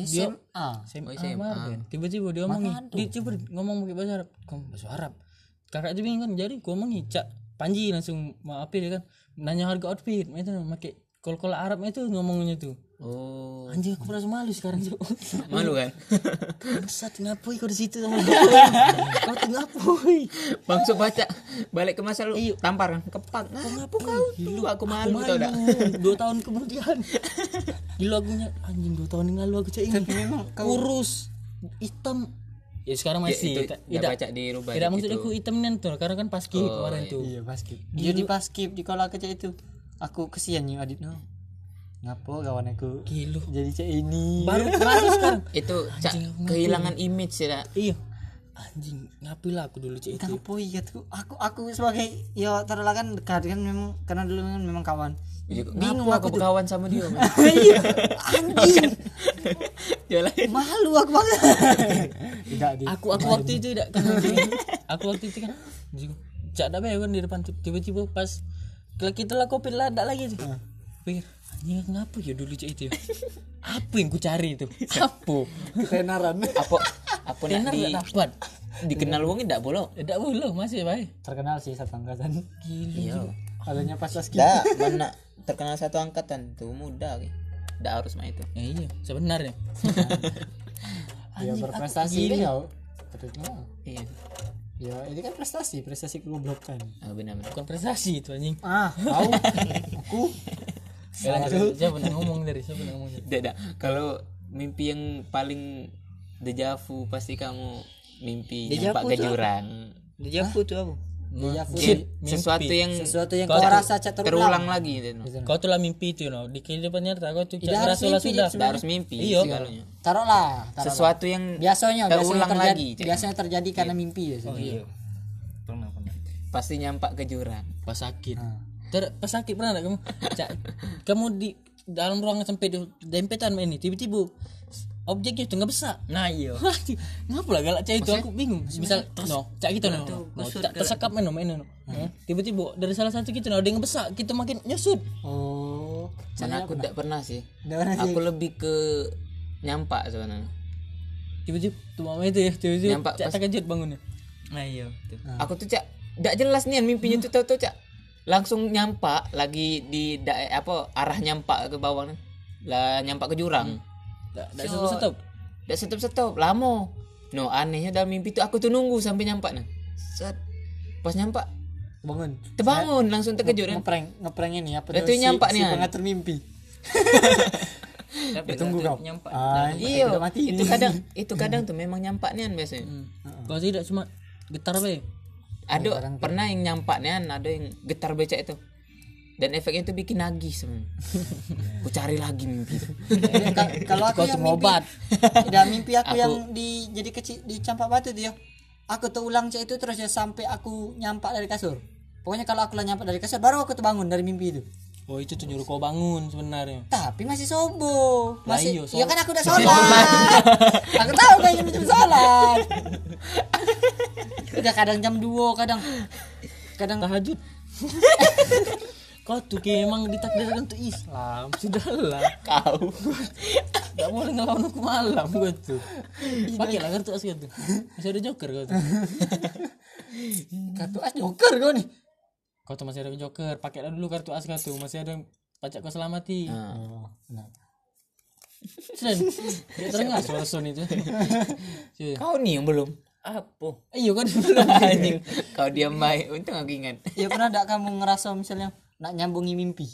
[SPEAKER 1] dia
[SPEAKER 4] Ah,
[SPEAKER 1] SMA, Marvin. kan. Tiba-tiba dia ngomong nih, dia coba ngomong pakai bahasa Arab. Kamu bahasa Arab. Kakak itu bingung kan jadi gua ngomong nih, Cak Panji langsung maaf dia kan nanya harga outfit, itu pakai kol-kol Arab itu ngomongnya tuh.
[SPEAKER 3] oh
[SPEAKER 1] Anjing aku merasa malu sekarang, Cuk.
[SPEAKER 3] malu kan
[SPEAKER 1] Bangsat, ngapoi kau di situ sama dia? Kau tuh ngapoi?
[SPEAKER 3] bangsu baca balik ke masa lu
[SPEAKER 1] Iya.
[SPEAKER 3] tampar kan kepak nah, aku kau lu aku malu Ya, tau dah
[SPEAKER 1] Malu, dua tahun kemudian. Gila aku nya anjing dua tahun yang lalu aku cek ini. Kurus, hitam. Ya sekarang
[SPEAKER 3] Ya, itu
[SPEAKER 1] masih
[SPEAKER 3] nggak baca di rubah
[SPEAKER 1] Tidak
[SPEAKER 3] gitu. Oh,
[SPEAKER 1] maksud aku hitam nih tuh, karena kan pas kip kemarin tuh.
[SPEAKER 4] Iya basket. Dia di basket di kolam kerja itu. Aku kesian yang adit no. Ngapo kawan aku?
[SPEAKER 1] Gila.
[SPEAKER 4] Jadi cek ini.
[SPEAKER 1] Baru terasa sekarang.
[SPEAKER 3] itu Cak, kehilangan image ya Dak.
[SPEAKER 1] Iya. Anjing, ngapain lah aku dulu cek itu.
[SPEAKER 4] Ngapo iya tuh? Aku aku sebagai ya taruhlah kan dekat kan memang karena dulu kan memang kawan.
[SPEAKER 3] Iya, bingung aku berkawan sama dia man.
[SPEAKER 4] Iya. Anjing.
[SPEAKER 3] Jalan.
[SPEAKER 4] Malu aku banget. Tidak di.
[SPEAKER 1] aku aku waktu itu tidak kan anjing. aku waktu itu kan anjing, cak dah bayar kan di depan tu- tiba-tiba pas kalau kita lah kopi lah tak lagi tu
[SPEAKER 3] Ah.
[SPEAKER 1] pikir anjing aku ngapa ya dulu cak itu ya? apa yang ku cari itu apa
[SPEAKER 4] Ketenaran.
[SPEAKER 3] apa apa nak
[SPEAKER 1] tenar
[SPEAKER 3] di,
[SPEAKER 1] tak dapat
[SPEAKER 3] dikenal wong ndak boleh
[SPEAKER 1] tidak Eh, boleh masih baik
[SPEAKER 4] Terkenal sih satu angkatan.
[SPEAKER 1] gila
[SPEAKER 3] Iya.
[SPEAKER 4] Adanya pas basket.
[SPEAKER 3] dah mana terkenal satu angkatan tuh muda ke ndak harus mah itu
[SPEAKER 1] eh, iya sebenarnya
[SPEAKER 4] Ya berprestasi ini ya. Terus no.
[SPEAKER 3] iya
[SPEAKER 4] Ya ini kan prestasi, prestasi kan. kegoblokan.
[SPEAKER 3] Ah, benar benar
[SPEAKER 1] bukan prestasi itu anjing
[SPEAKER 4] Ah, tahu. aku
[SPEAKER 1] Ya, lanjut. siapa nak ngomong dari siapa nak ngomong dari
[SPEAKER 3] tidak dak. kalau mimpi yang paling dejavu pasti kamu mimpi nyampak ke jurang
[SPEAKER 2] Dia aku tuh apa?
[SPEAKER 4] dia
[SPEAKER 3] Iya, sesuatu yang
[SPEAKER 4] sesuatu yang kau rasa cat terulang.
[SPEAKER 3] terulang lagi Deno.
[SPEAKER 1] kau tuh lah mimpi itu no di kehidupan nyata kau tuh cak
[SPEAKER 4] harus
[SPEAKER 1] rasa lah
[SPEAKER 4] mimpi,
[SPEAKER 1] sudah
[SPEAKER 3] Ndak harus mimpi
[SPEAKER 1] Iya.
[SPEAKER 3] segalanya.
[SPEAKER 4] Taruhlah, taruhlah.
[SPEAKER 3] sesuatu yang
[SPEAKER 4] biasanya biasanya
[SPEAKER 3] terulang
[SPEAKER 4] terjadi,
[SPEAKER 3] lagi Cak.
[SPEAKER 4] biasanya terjadi karena mimpi ya. Sen.
[SPEAKER 2] Pernah pernah.
[SPEAKER 3] pasti nyampak ke jurang
[SPEAKER 1] pas sakit
[SPEAKER 4] Ha. Ah.
[SPEAKER 1] Ter pas sakit pernah tak kamu Cak, kamu di dalam ruangan sempit tu, dempetan main ni tiba-tiba objeknya tu nggak besar
[SPEAKER 2] Nah iya.
[SPEAKER 1] ngapa lah galak cak itu aku bingung misal no cak kita no, no, no, cak tersekap main no main no Eh, tiba-tiba dari salah satu kita no ada yang besar kita makin nyusut
[SPEAKER 4] Oh,
[SPEAKER 3] Karena aku tidak pernah sih.
[SPEAKER 4] Nggak pernah
[SPEAKER 3] Aku lebih ke nyampak sebenarnya.
[SPEAKER 1] tiba-tiba tu mama itu ya tiba-tiba
[SPEAKER 3] Nampak
[SPEAKER 1] cak terkejut bangunnya
[SPEAKER 2] Nah iya. Tuh.
[SPEAKER 3] Aku tuh cak, tidak jelas nih mimpinya tuh tau tau cak langsung nyampak lagi di da- apa arah nyampak ke bawah nih. Lah nyampak ke jurang.
[SPEAKER 1] tak tak so, stop
[SPEAKER 3] Tidak stop stop lama. No anehnya dalam mimpi tuh aku tuh nunggu sampai nyampak nih. Set. Pas nyampak
[SPEAKER 4] bangun.
[SPEAKER 3] terbangun langsung terkejut kan.
[SPEAKER 4] Ngeprank, ngeprank ini apa
[SPEAKER 3] Lah,
[SPEAKER 4] tuh?
[SPEAKER 3] itu nyampak
[SPEAKER 4] si,
[SPEAKER 3] nih,
[SPEAKER 4] si
[SPEAKER 3] Han.
[SPEAKER 4] pengatur mimpi.
[SPEAKER 2] Tapi
[SPEAKER 4] Tunggu
[SPEAKER 2] lah
[SPEAKER 4] kau.
[SPEAKER 2] tuh Nyampak.
[SPEAKER 4] Ah,
[SPEAKER 3] Iya,
[SPEAKER 4] udah mati
[SPEAKER 3] itu kadang itu kadang tuh memang nyampak nih biasanya.
[SPEAKER 1] kau tidak cuma getar be
[SPEAKER 3] ada pernah yang nyampaknya ada yang getar becak itu dan efeknya itu bikin nagih sebenarnya aku cari lagi mimpi itu
[SPEAKER 4] Ya, ka- kalau aku
[SPEAKER 1] Kau
[SPEAKER 4] yang
[SPEAKER 1] tuh
[SPEAKER 4] mimpi
[SPEAKER 1] ngobat.
[SPEAKER 4] dan mimpi aku, yang di jadi kecil dicampak batu dia aku tuh ulang cek itu terus ya sampai aku nyampak dari kasur pokoknya kalau aku lah nyampak dari kasur baru aku tuh bangun dari mimpi itu
[SPEAKER 1] oh itu tuh nyuruh kau bangun sebenarnya
[SPEAKER 4] tapi masih sobo
[SPEAKER 1] Lah
[SPEAKER 4] masih
[SPEAKER 1] iyo,
[SPEAKER 4] iya
[SPEAKER 1] sobo.
[SPEAKER 4] kan aku udah sholat aku tahu kan jam jam sholat udah kadang jam 2 kadang kadang
[SPEAKER 1] tahajud kau tuh kayak emang ditakdirkan untuk Islam sudahlah
[SPEAKER 3] kau
[SPEAKER 1] Gak boleh ngelawan aku malam gue tuh Pakai lah kartu as gitu Masih ada joker gue tuh
[SPEAKER 4] kartu as "Ah, joker kau nih
[SPEAKER 1] Kau tuh masih ada joker Pakailah dulu kartu as kau tuh Masih ada yang pajak kau selamati
[SPEAKER 3] Nah. Oh,
[SPEAKER 1] Sen Gak terengah suara son itu Sen.
[SPEAKER 3] kau nih yang belum apa
[SPEAKER 1] Iya kan belum
[SPEAKER 3] anjing kau diam baik untung aku ingat
[SPEAKER 4] ya pernah gak kamu ngerasa misalnya nak nyambungi mimpi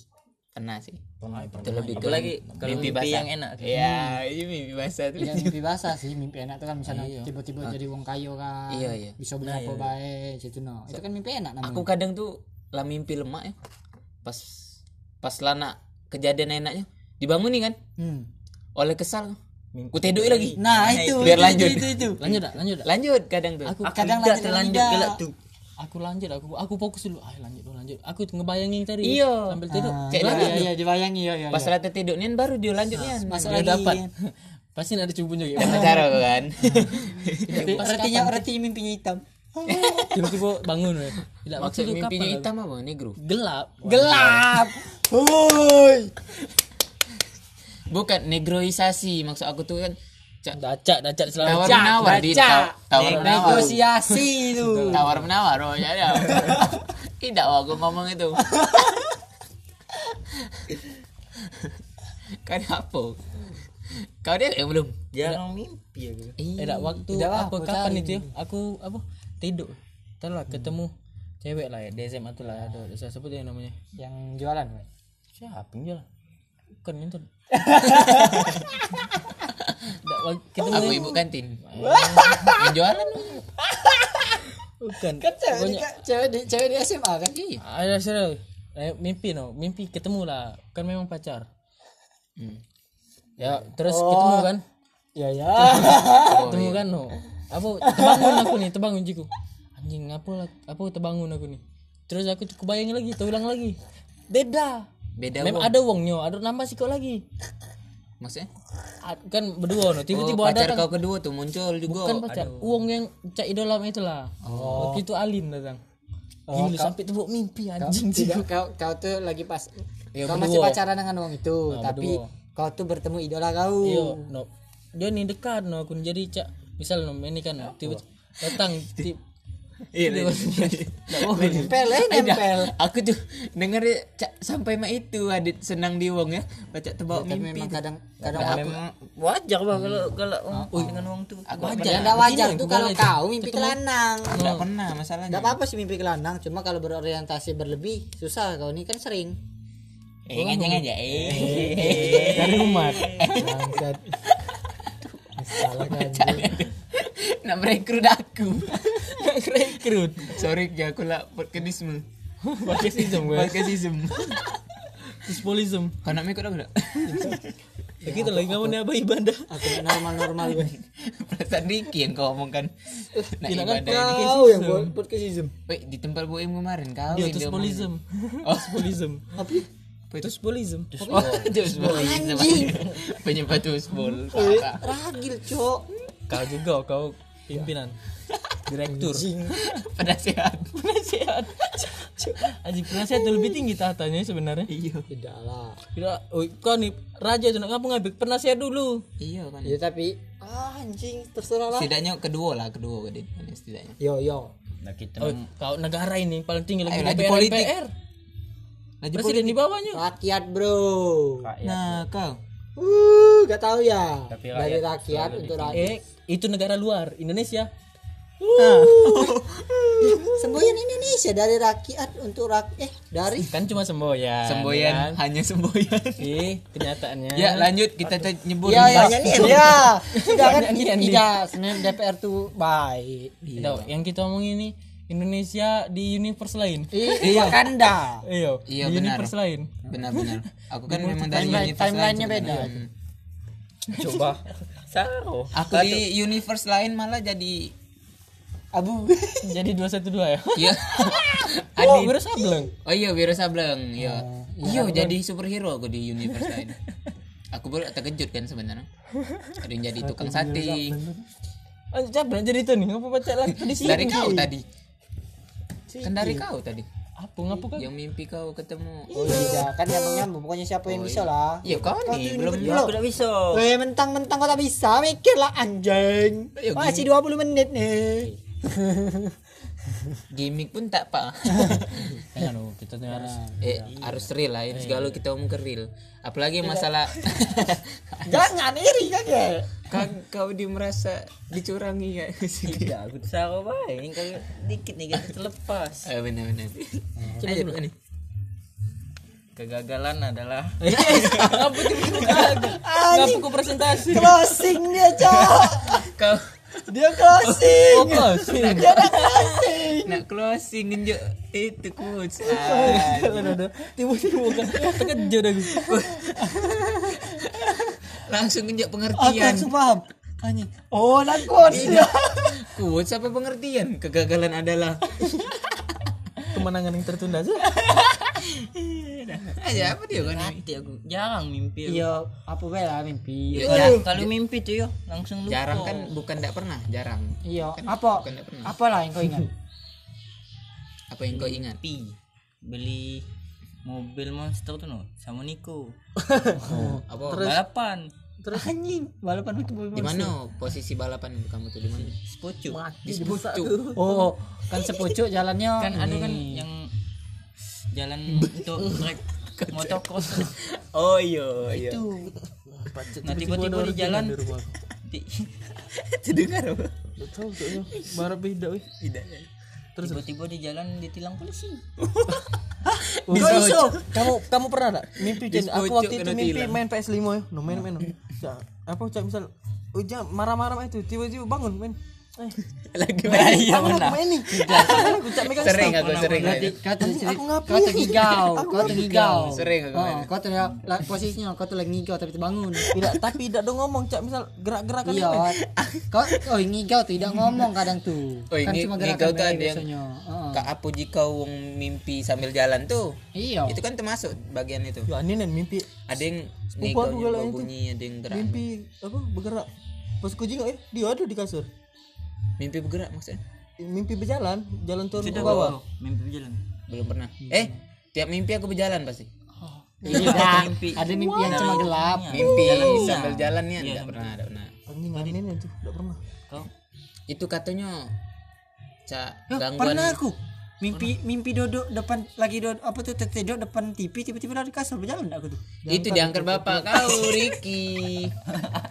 [SPEAKER 3] pernah sih itu lebih ke Nah, mimpi,
[SPEAKER 2] mimpi
[SPEAKER 3] basah
[SPEAKER 2] yang enak.
[SPEAKER 3] ya ini mimpi basah tuh
[SPEAKER 4] Ya, mimpi basah sih, mimpi enak tuh kan misalnya tiba-tiba jadi wong kayo kan.
[SPEAKER 3] Iya, iya.
[SPEAKER 4] Bisa beli apa bae, gitu no. Itu kan mimpi enak namanya.
[SPEAKER 3] aku kadang tuh lah mimpi lemak ya pas pas lana kejadian enaknya dibangun nih kan
[SPEAKER 4] Hmm.
[SPEAKER 3] oleh kesal ku tidur lagi
[SPEAKER 4] Nah, itu.
[SPEAKER 3] biar
[SPEAKER 4] itu,
[SPEAKER 3] lanjut.
[SPEAKER 4] Itu, itu, itu.
[SPEAKER 1] Lanjut dah lanjut dah
[SPEAKER 3] lanjut kadang tuh
[SPEAKER 1] Aku
[SPEAKER 4] Kadang
[SPEAKER 2] Tidak
[SPEAKER 4] lanjut
[SPEAKER 2] terlanjut
[SPEAKER 4] tidak.
[SPEAKER 2] gelak tuh.
[SPEAKER 1] aku lanjut aku aku fokus dulu Ayo lanjut dulu lanjut Aku tuh ngebayangin tadi
[SPEAKER 3] Iya.
[SPEAKER 1] Sambil tidur
[SPEAKER 4] Ah,
[SPEAKER 3] Cek
[SPEAKER 4] iya,
[SPEAKER 3] lagi.
[SPEAKER 4] iya, iya, dibayangi iya, iya.
[SPEAKER 3] pas rata tidur nih baru dia kan? lanjutnya
[SPEAKER 4] Masuk
[SPEAKER 1] Dia
[SPEAKER 4] lagi.
[SPEAKER 1] dapat Pasti ada cubunya gitu
[SPEAKER 3] cara kan
[SPEAKER 4] Reti- Retinya reti mimpinya hitam.
[SPEAKER 1] Tiba-tiba bangun ya Tidak
[SPEAKER 3] maksud
[SPEAKER 1] maksud itu
[SPEAKER 3] mimpinya
[SPEAKER 4] lah.
[SPEAKER 1] kapan
[SPEAKER 3] hitam apa negro
[SPEAKER 1] Gelap
[SPEAKER 4] Gelap. Woi.
[SPEAKER 3] bukan negroisasi maksud aku tuh kan cak
[SPEAKER 1] Dacak dacak selama
[SPEAKER 3] tawar menawar di taw- tawar menawar
[SPEAKER 4] Negosiasi itu.
[SPEAKER 3] tawar menawar oh ya ya tidak wah aku ngomong itu Kau ada apa? Kau ada yang belum?
[SPEAKER 1] Ya,
[SPEAKER 2] Orang mimpi gitu. aku.
[SPEAKER 1] eh, dak waktu
[SPEAKER 4] Dak lah,
[SPEAKER 1] apa
[SPEAKER 4] aku
[SPEAKER 1] kapan
[SPEAKER 4] cari.
[SPEAKER 1] itu ya? Aku apa? Tidur. Tahu lah ketemu cewek lah ya, di SMA tu lah ada. Saya sebut dia namanya.
[SPEAKER 4] yang jualan Boy.
[SPEAKER 1] Siapa yang jual? Bukan itu. Dak wak- ketemu
[SPEAKER 3] Aku ibu kantin. yang jualan.
[SPEAKER 1] bukan.
[SPEAKER 4] kan cewek di, cewek di cewek di SMA kan
[SPEAKER 1] Ada serius. Eh, mimpi no, mimpi ketemu lah. Kan memang pacar. Ya, terus ketemu kan?
[SPEAKER 4] ya ya
[SPEAKER 1] ketemu kan no. Apa terbangun aku nih, terbangun jiku. Anjing, apa lah- apa terbangun aku nih. Terus aku tuh kebayang lagi, terulang lagi. Beda.
[SPEAKER 3] Beda
[SPEAKER 1] Memang ada wongnya, ada nambah sikit lagi.
[SPEAKER 3] maksudnya?
[SPEAKER 1] A- Kan berdua no,
[SPEAKER 3] Oh,
[SPEAKER 1] tiba-tiba ada
[SPEAKER 3] pacar kau kedua tuh muncul juga.
[SPEAKER 1] kan pacar uang yang cak idola itulah. Oh. Waktu itu Alin datang. Gila sampai tebuk mimpi anjing.
[SPEAKER 4] tidak kau kau tuh lagi pas
[SPEAKER 1] Ya,
[SPEAKER 4] kau masih
[SPEAKER 1] berdua.
[SPEAKER 4] pacaran dengan orang itu tapi kau tuh bertemu idola kau
[SPEAKER 1] Yo, Iya, no. Dia ni dekat no aku ni. jadi cak misal no ini kan no, tiba datang ti-
[SPEAKER 3] Iya.
[SPEAKER 4] nempel eh nempel
[SPEAKER 3] Aku tuh denger dia, Cak, sampai mak itu Adit senang di wong ya. Baca terbawa
[SPEAKER 4] tapi
[SPEAKER 3] mimpi.
[SPEAKER 4] memang
[SPEAKER 3] tuh.
[SPEAKER 4] kadang kadang
[SPEAKER 3] Nah, aku wajar bah kalau kalau orang dengan wong tuh. Aku
[SPEAKER 4] wajar tidak wajar tuh kalau kau mimpi kelanang
[SPEAKER 3] enggak pernah masalahnya.
[SPEAKER 4] Gak apa-apa sih mimpi kelanang, cuma kalau berorientasi berlebih susah kau ini kan sering.
[SPEAKER 3] Eh, ngajeng aja. Eh.
[SPEAKER 4] Dari umat. Bangsat. Salah kan.
[SPEAKER 3] Nak merekrut aku. Nak merekrut. Sorry ya aku lah podcastisme.
[SPEAKER 1] Podcastism,
[SPEAKER 3] Iya.
[SPEAKER 1] gue.
[SPEAKER 3] Podcastism.
[SPEAKER 1] kan? Dispolism.
[SPEAKER 3] Kau nak ikut aku tak?
[SPEAKER 1] Ya, kita lagi ngomong apa ibadah.
[SPEAKER 4] Aku normal-normal gue.
[SPEAKER 3] Perasaan Ricky yang kau omongkan.
[SPEAKER 4] Eh,
[SPEAKER 3] Nak
[SPEAKER 1] kan
[SPEAKER 4] kan?
[SPEAKER 3] ibadah.
[SPEAKER 4] Kau yang buat podcast ism.
[SPEAKER 3] Wait, di tempat boim kemarin kau.
[SPEAKER 1] Yo,
[SPEAKER 3] yang dia omongin.
[SPEAKER 1] Iya, dispolism. Oh, dispolism.
[SPEAKER 4] Apa?
[SPEAKER 1] Dispolism.
[SPEAKER 3] Oh, Tusbol. Anjing. Penyebab Tusbol.
[SPEAKER 4] Eh, Ragil, Cok.
[SPEAKER 1] Kau juga kau pimpinan. Direktur.
[SPEAKER 3] Penasehat.
[SPEAKER 1] Penasehat. Anjing penasehat tu lebih tinggi tahtanya sebenarnya.
[SPEAKER 3] Iya.
[SPEAKER 4] Tidak lah.
[SPEAKER 1] Kira, oi, kau nih raja tu nak ngapa ngabik penasehat dulu.
[SPEAKER 3] Iya kan.
[SPEAKER 4] Ya tapi ah, anjing terserah lah.
[SPEAKER 3] Setidaknya kedua lah, kedua Adit. Setidaknya.
[SPEAKER 4] Yo yo.
[SPEAKER 2] Nah kita
[SPEAKER 1] Oi, Oh, kau negara ini paling tinggi lagi
[SPEAKER 3] Ayo, laju
[SPEAKER 1] DPR,
[SPEAKER 3] politik.
[SPEAKER 1] MPR.
[SPEAKER 3] Laju
[SPEAKER 1] Presiden di bawahnya.
[SPEAKER 4] Rakyat, Bro.
[SPEAKER 2] rakyat.
[SPEAKER 3] Nah, kau.
[SPEAKER 4] Uh, gak tahu ya.
[SPEAKER 2] Tapi
[SPEAKER 4] Dari
[SPEAKER 2] rakyat
[SPEAKER 4] rakyat untuk rakyat.
[SPEAKER 1] Eh, itu negara luar, Indonesia.
[SPEAKER 3] Ha.
[SPEAKER 4] Semboyan Indonesia dari rakyat untuk rakyat. Eh, dari
[SPEAKER 1] Kan cuma semboyan.
[SPEAKER 3] Semboyan, hanya semboyan.
[SPEAKER 1] Ih, kenyataannya.
[SPEAKER 3] Ya, lanjut kita te- nyebut.
[SPEAKER 4] Ya, ya,
[SPEAKER 3] Bas-
[SPEAKER 4] ya, ya. Sudah kan tidak sebenarnya DPR tuh baik.
[SPEAKER 1] Iya. Tahu, yang kita omongin ini Indonesia di universe lain.
[SPEAKER 4] Ih, Wakanda.
[SPEAKER 1] Iyo,
[SPEAKER 3] Iya,
[SPEAKER 1] di
[SPEAKER 3] benar.
[SPEAKER 1] universe lain.
[SPEAKER 3] Benar-benar. Aku kan memang dari universe
[SPEAKER 4] timeline-
[SPEAKER 3] lain
[SPEAKER 4] timeline-nya beda.
[SPEAKER 3] sebenarnya. Hmm.
[SPEAKER 2] Coba. Saro.
[SPEAKER 3] Aku di universe lain malah jadi
[SPEAKER 4] Abu.
[SPEAKER 1] Jadi 212 ya.
[SPEAKER 3] Iya.
[SPEAKER 1] Oh,
[SPEAKER 3] Adit.
[SPEAKER 1] Wiro Sableng.
[SPEAKER 3] Oh iya, Wiro Sableng. Iya. Iya, jadi superhero aku di universe lain. Aku baru terkejut kan sebenarnya. Ada yang jadi tukang sate.
[SPEAKER 1] Anjir, Sableng jadi itu nih, ngapa baca lagi di sini?
[SPEAKER 3] Dari kau tadi. Kan dari kau tadi.
[SPEAKER 1] Apa ngapa kan?
[SPEAKER 3] Yang mimpi kau ketemu.
[SPEAKER 4] Oh tidak, kan nyambung nyambung. Pokoknya siapa
[SPEAKER 2] Oh,
[SPEAKER 4] yang bisa lah.
[SPEAKER 3] Iya, kau nih belum
[SPEAKER 4] Belum.
[SPEAKER 2] Aku tak bisa.
[SPEAKER 4] Eh, mentang-mentang kau tak bisa, mikirlah anjing. Masih 20 menit nih.
[SPEAKER 3] gimmick pun tak pak
[SPEAKER 1] Jangan dong, kita tuh harus
[SPEAKER 3] eh harus real lah ini segala kita omong ke real apalagi masalah
[SPEAKER 4] Jangan iri kan ya.
[SPEAKER 3] kau, kau di merasa dicurangi ya
[SPEAKER 2] Tidak, aku saro baik. Kalau dikit nih kita terlepas.
[SPEAKER 3] eh benar benar coba dulu ini
[SPEAKER 2] Kegagalan adalah
[SPEAKER 3] Eh.
[SPEAKER 1] Ngapa tiba-tiba gagal? Ngapa ku presentasi?
[SPEAKER 4] Closing dia, Cok.
[SPEAKER 3] kau
[SPEAKER 4] Dia closing.
[SPEAKER 1] Oh, closing.
[SPEAKER 3] nak closing Eh, njuk itu coach
[SPEAKER 1] Tiba-tiba kan terkejut aku.
[SPEAKER 3] langsung njuk
[SPEAKER 4] Aku
[SPEAKER 3] pengertian
[SPEAKER 4] langsung paham. Anjing. Oh, nakut.
[SPEAKER 3] coach apa pengertian kegagalan adalah
[SPEAKER 1] Kemenangan yang tertunda aja.
[SPEAKER 3] aja apa dia kan
[SPEAKER 2] hati aku. Jarang mimpi. aku.
[SPEAKER 4] Iya, apa bae lah mimpi.
[SPEAKER 2] Ya, jar- kalau mimpi tuh yo langsung lupa.
[SPEAKER 3] jarang kan bukan tidak pernah jarang
[SPEAKER 4] Iya, apa?
[SPEAKER 3] bukan tidak pernah
[SPEAKER 4] Apalah yang kau ingat?
[SPEAKER 3] apa yang kau ingat
[SPEAKER 2] mimpi beli mobil monster tuh no sama Niko.
[SPEAKER 3] apa
[SPEAKER 2] Balapan.
[SPEAKER 4] Terus anjing, balapan untuk boy
[SPEAKER 3] di mana posisi balapan kamu tuh di mana
[SPEAKER 2] Sepucuk.
[SPEAKER 3] di pucuk
[SPEAKER 4] Oh,
[SPEAKER 2] anu
[SPEAKER 4] kan sepucuk jalannya.
[SPEAKER 2] kan ada kan yang jalan untuk trek motocross
[SPEAKER 3] oh
[SPEAKER 1] iya,
[SPEAKER 3] iyo iyo
[SPEAKER 2] itu nah tiba-tiba di jalan ti-
[SPEAKER 3] terdengar apa
[SPEAKER 1] Tahu tuh ya. Barat beda weh.
[SPEAKER 3] tidak
[SPEAKER 2] tiba-tiba di jalan ditilang polisi
[SPEAKER 1] Bisa iso. Kamu kamu pernah enggak mimpi Jen? Aku
[SPEAKER 3] Dispojok
[SPEAKER 1] waktu itu
[SPEAKER 3] kena
[SPEAKER 1] mimpi
[SPEAKER 3] tilang.
[SPEAKER 1] main PS5 ya. No main main. no. Cak, apa cak misal uja marah-marah main itu tiba-tiba bangun main. Eh,
[SPEAKER 3] lagi main
[SPEAKER 1] aku nak main nih. Aku cak megang
[SPEAKER 3] Iya. sering
[SPEAKER 1] stang.
[SPEAKER 3] aku sering aku.
[SPEAKER 4] Kau tuh
[SPEAKER 1] Aku ngapain?
[SPEAKER 4] kau tuh gigau, kau tuh gigau.
[SPEAKER 3] sering aku
[SPEAKER 4] Oh, kau tuh ya, la- posisinya kau tuh lagi ngigau tapi terbangun.
[SPEAKER 1] Tidak tapi tidak dong ngomong cak misal gerak-gerakan
[SPEAKER 4] Iya, kau oh ngigau tidak ngomong kadang tuh.
[SPEAKER 3] Oh,
[SPEAKER 4] kan
[SPEAKER 3] ngi-
[SPEAKER 4] cuma
[SPEAKER 3] ngigau tuh
[SPEAKER 4] gerakan doang
[SPEAKER 3] ada yang-
[SPEAKER 4] biasanya. Oh, Heeh.
[SPEAKER 3] kak apu jika wong mimpi sambil jalan tuh
[SPEAKER 4] Iya.
[SPEAKER 3] itu kan termasuk bagian itu
[SPEAKER 1] Ya ini nih mimpi
[SPEAKER 3] ada yang
[SPEAKER 1] Sepupu
[SPEAKER 3] nego
[SPEAKER 1] aku
[SPEAKER 3] juga
[SPEAKER 1] galaknya tuh.
[SPEAKER 3] bunyi ada yang gerak mimpi,
[SPEAKER 1] mimpi apa bergerak. Pas ku jingok ya, dia ada di kasur.
[SPEAKER 3] bergerak maksudnya
[SPEAKER 1] Mimpi berjalan, jalan turun ke
[SPEAKER 2] sudah
[SPEAKER 1] bawah.
[SPEAKER 2] bawa mimpi jalan
[SPEAKER 3] belum pernah eh tiap mimpi aku berjalan pasti
[SPEAKER 4] Iya, Kak. ada mimpi yang cuma gelap.
[SPEAKER 3] mimpi sambil jalan ya enggak pernah enggak pernah
[SPEAKER 1] Anjing aneh nih tuh, tidak pernah.
[SPEAKER 2] kau
[SPEAKER 3] itu katanya cak gangguan
[SPEAKER 4] Pernah aku mimpi mimpi duduk depan lagi duduk apa tuh tertidur depan TV tiba-tiba dari kasur berjalan aku tuh.
[SPEAKER 3] itu diangkat bapak kau Riki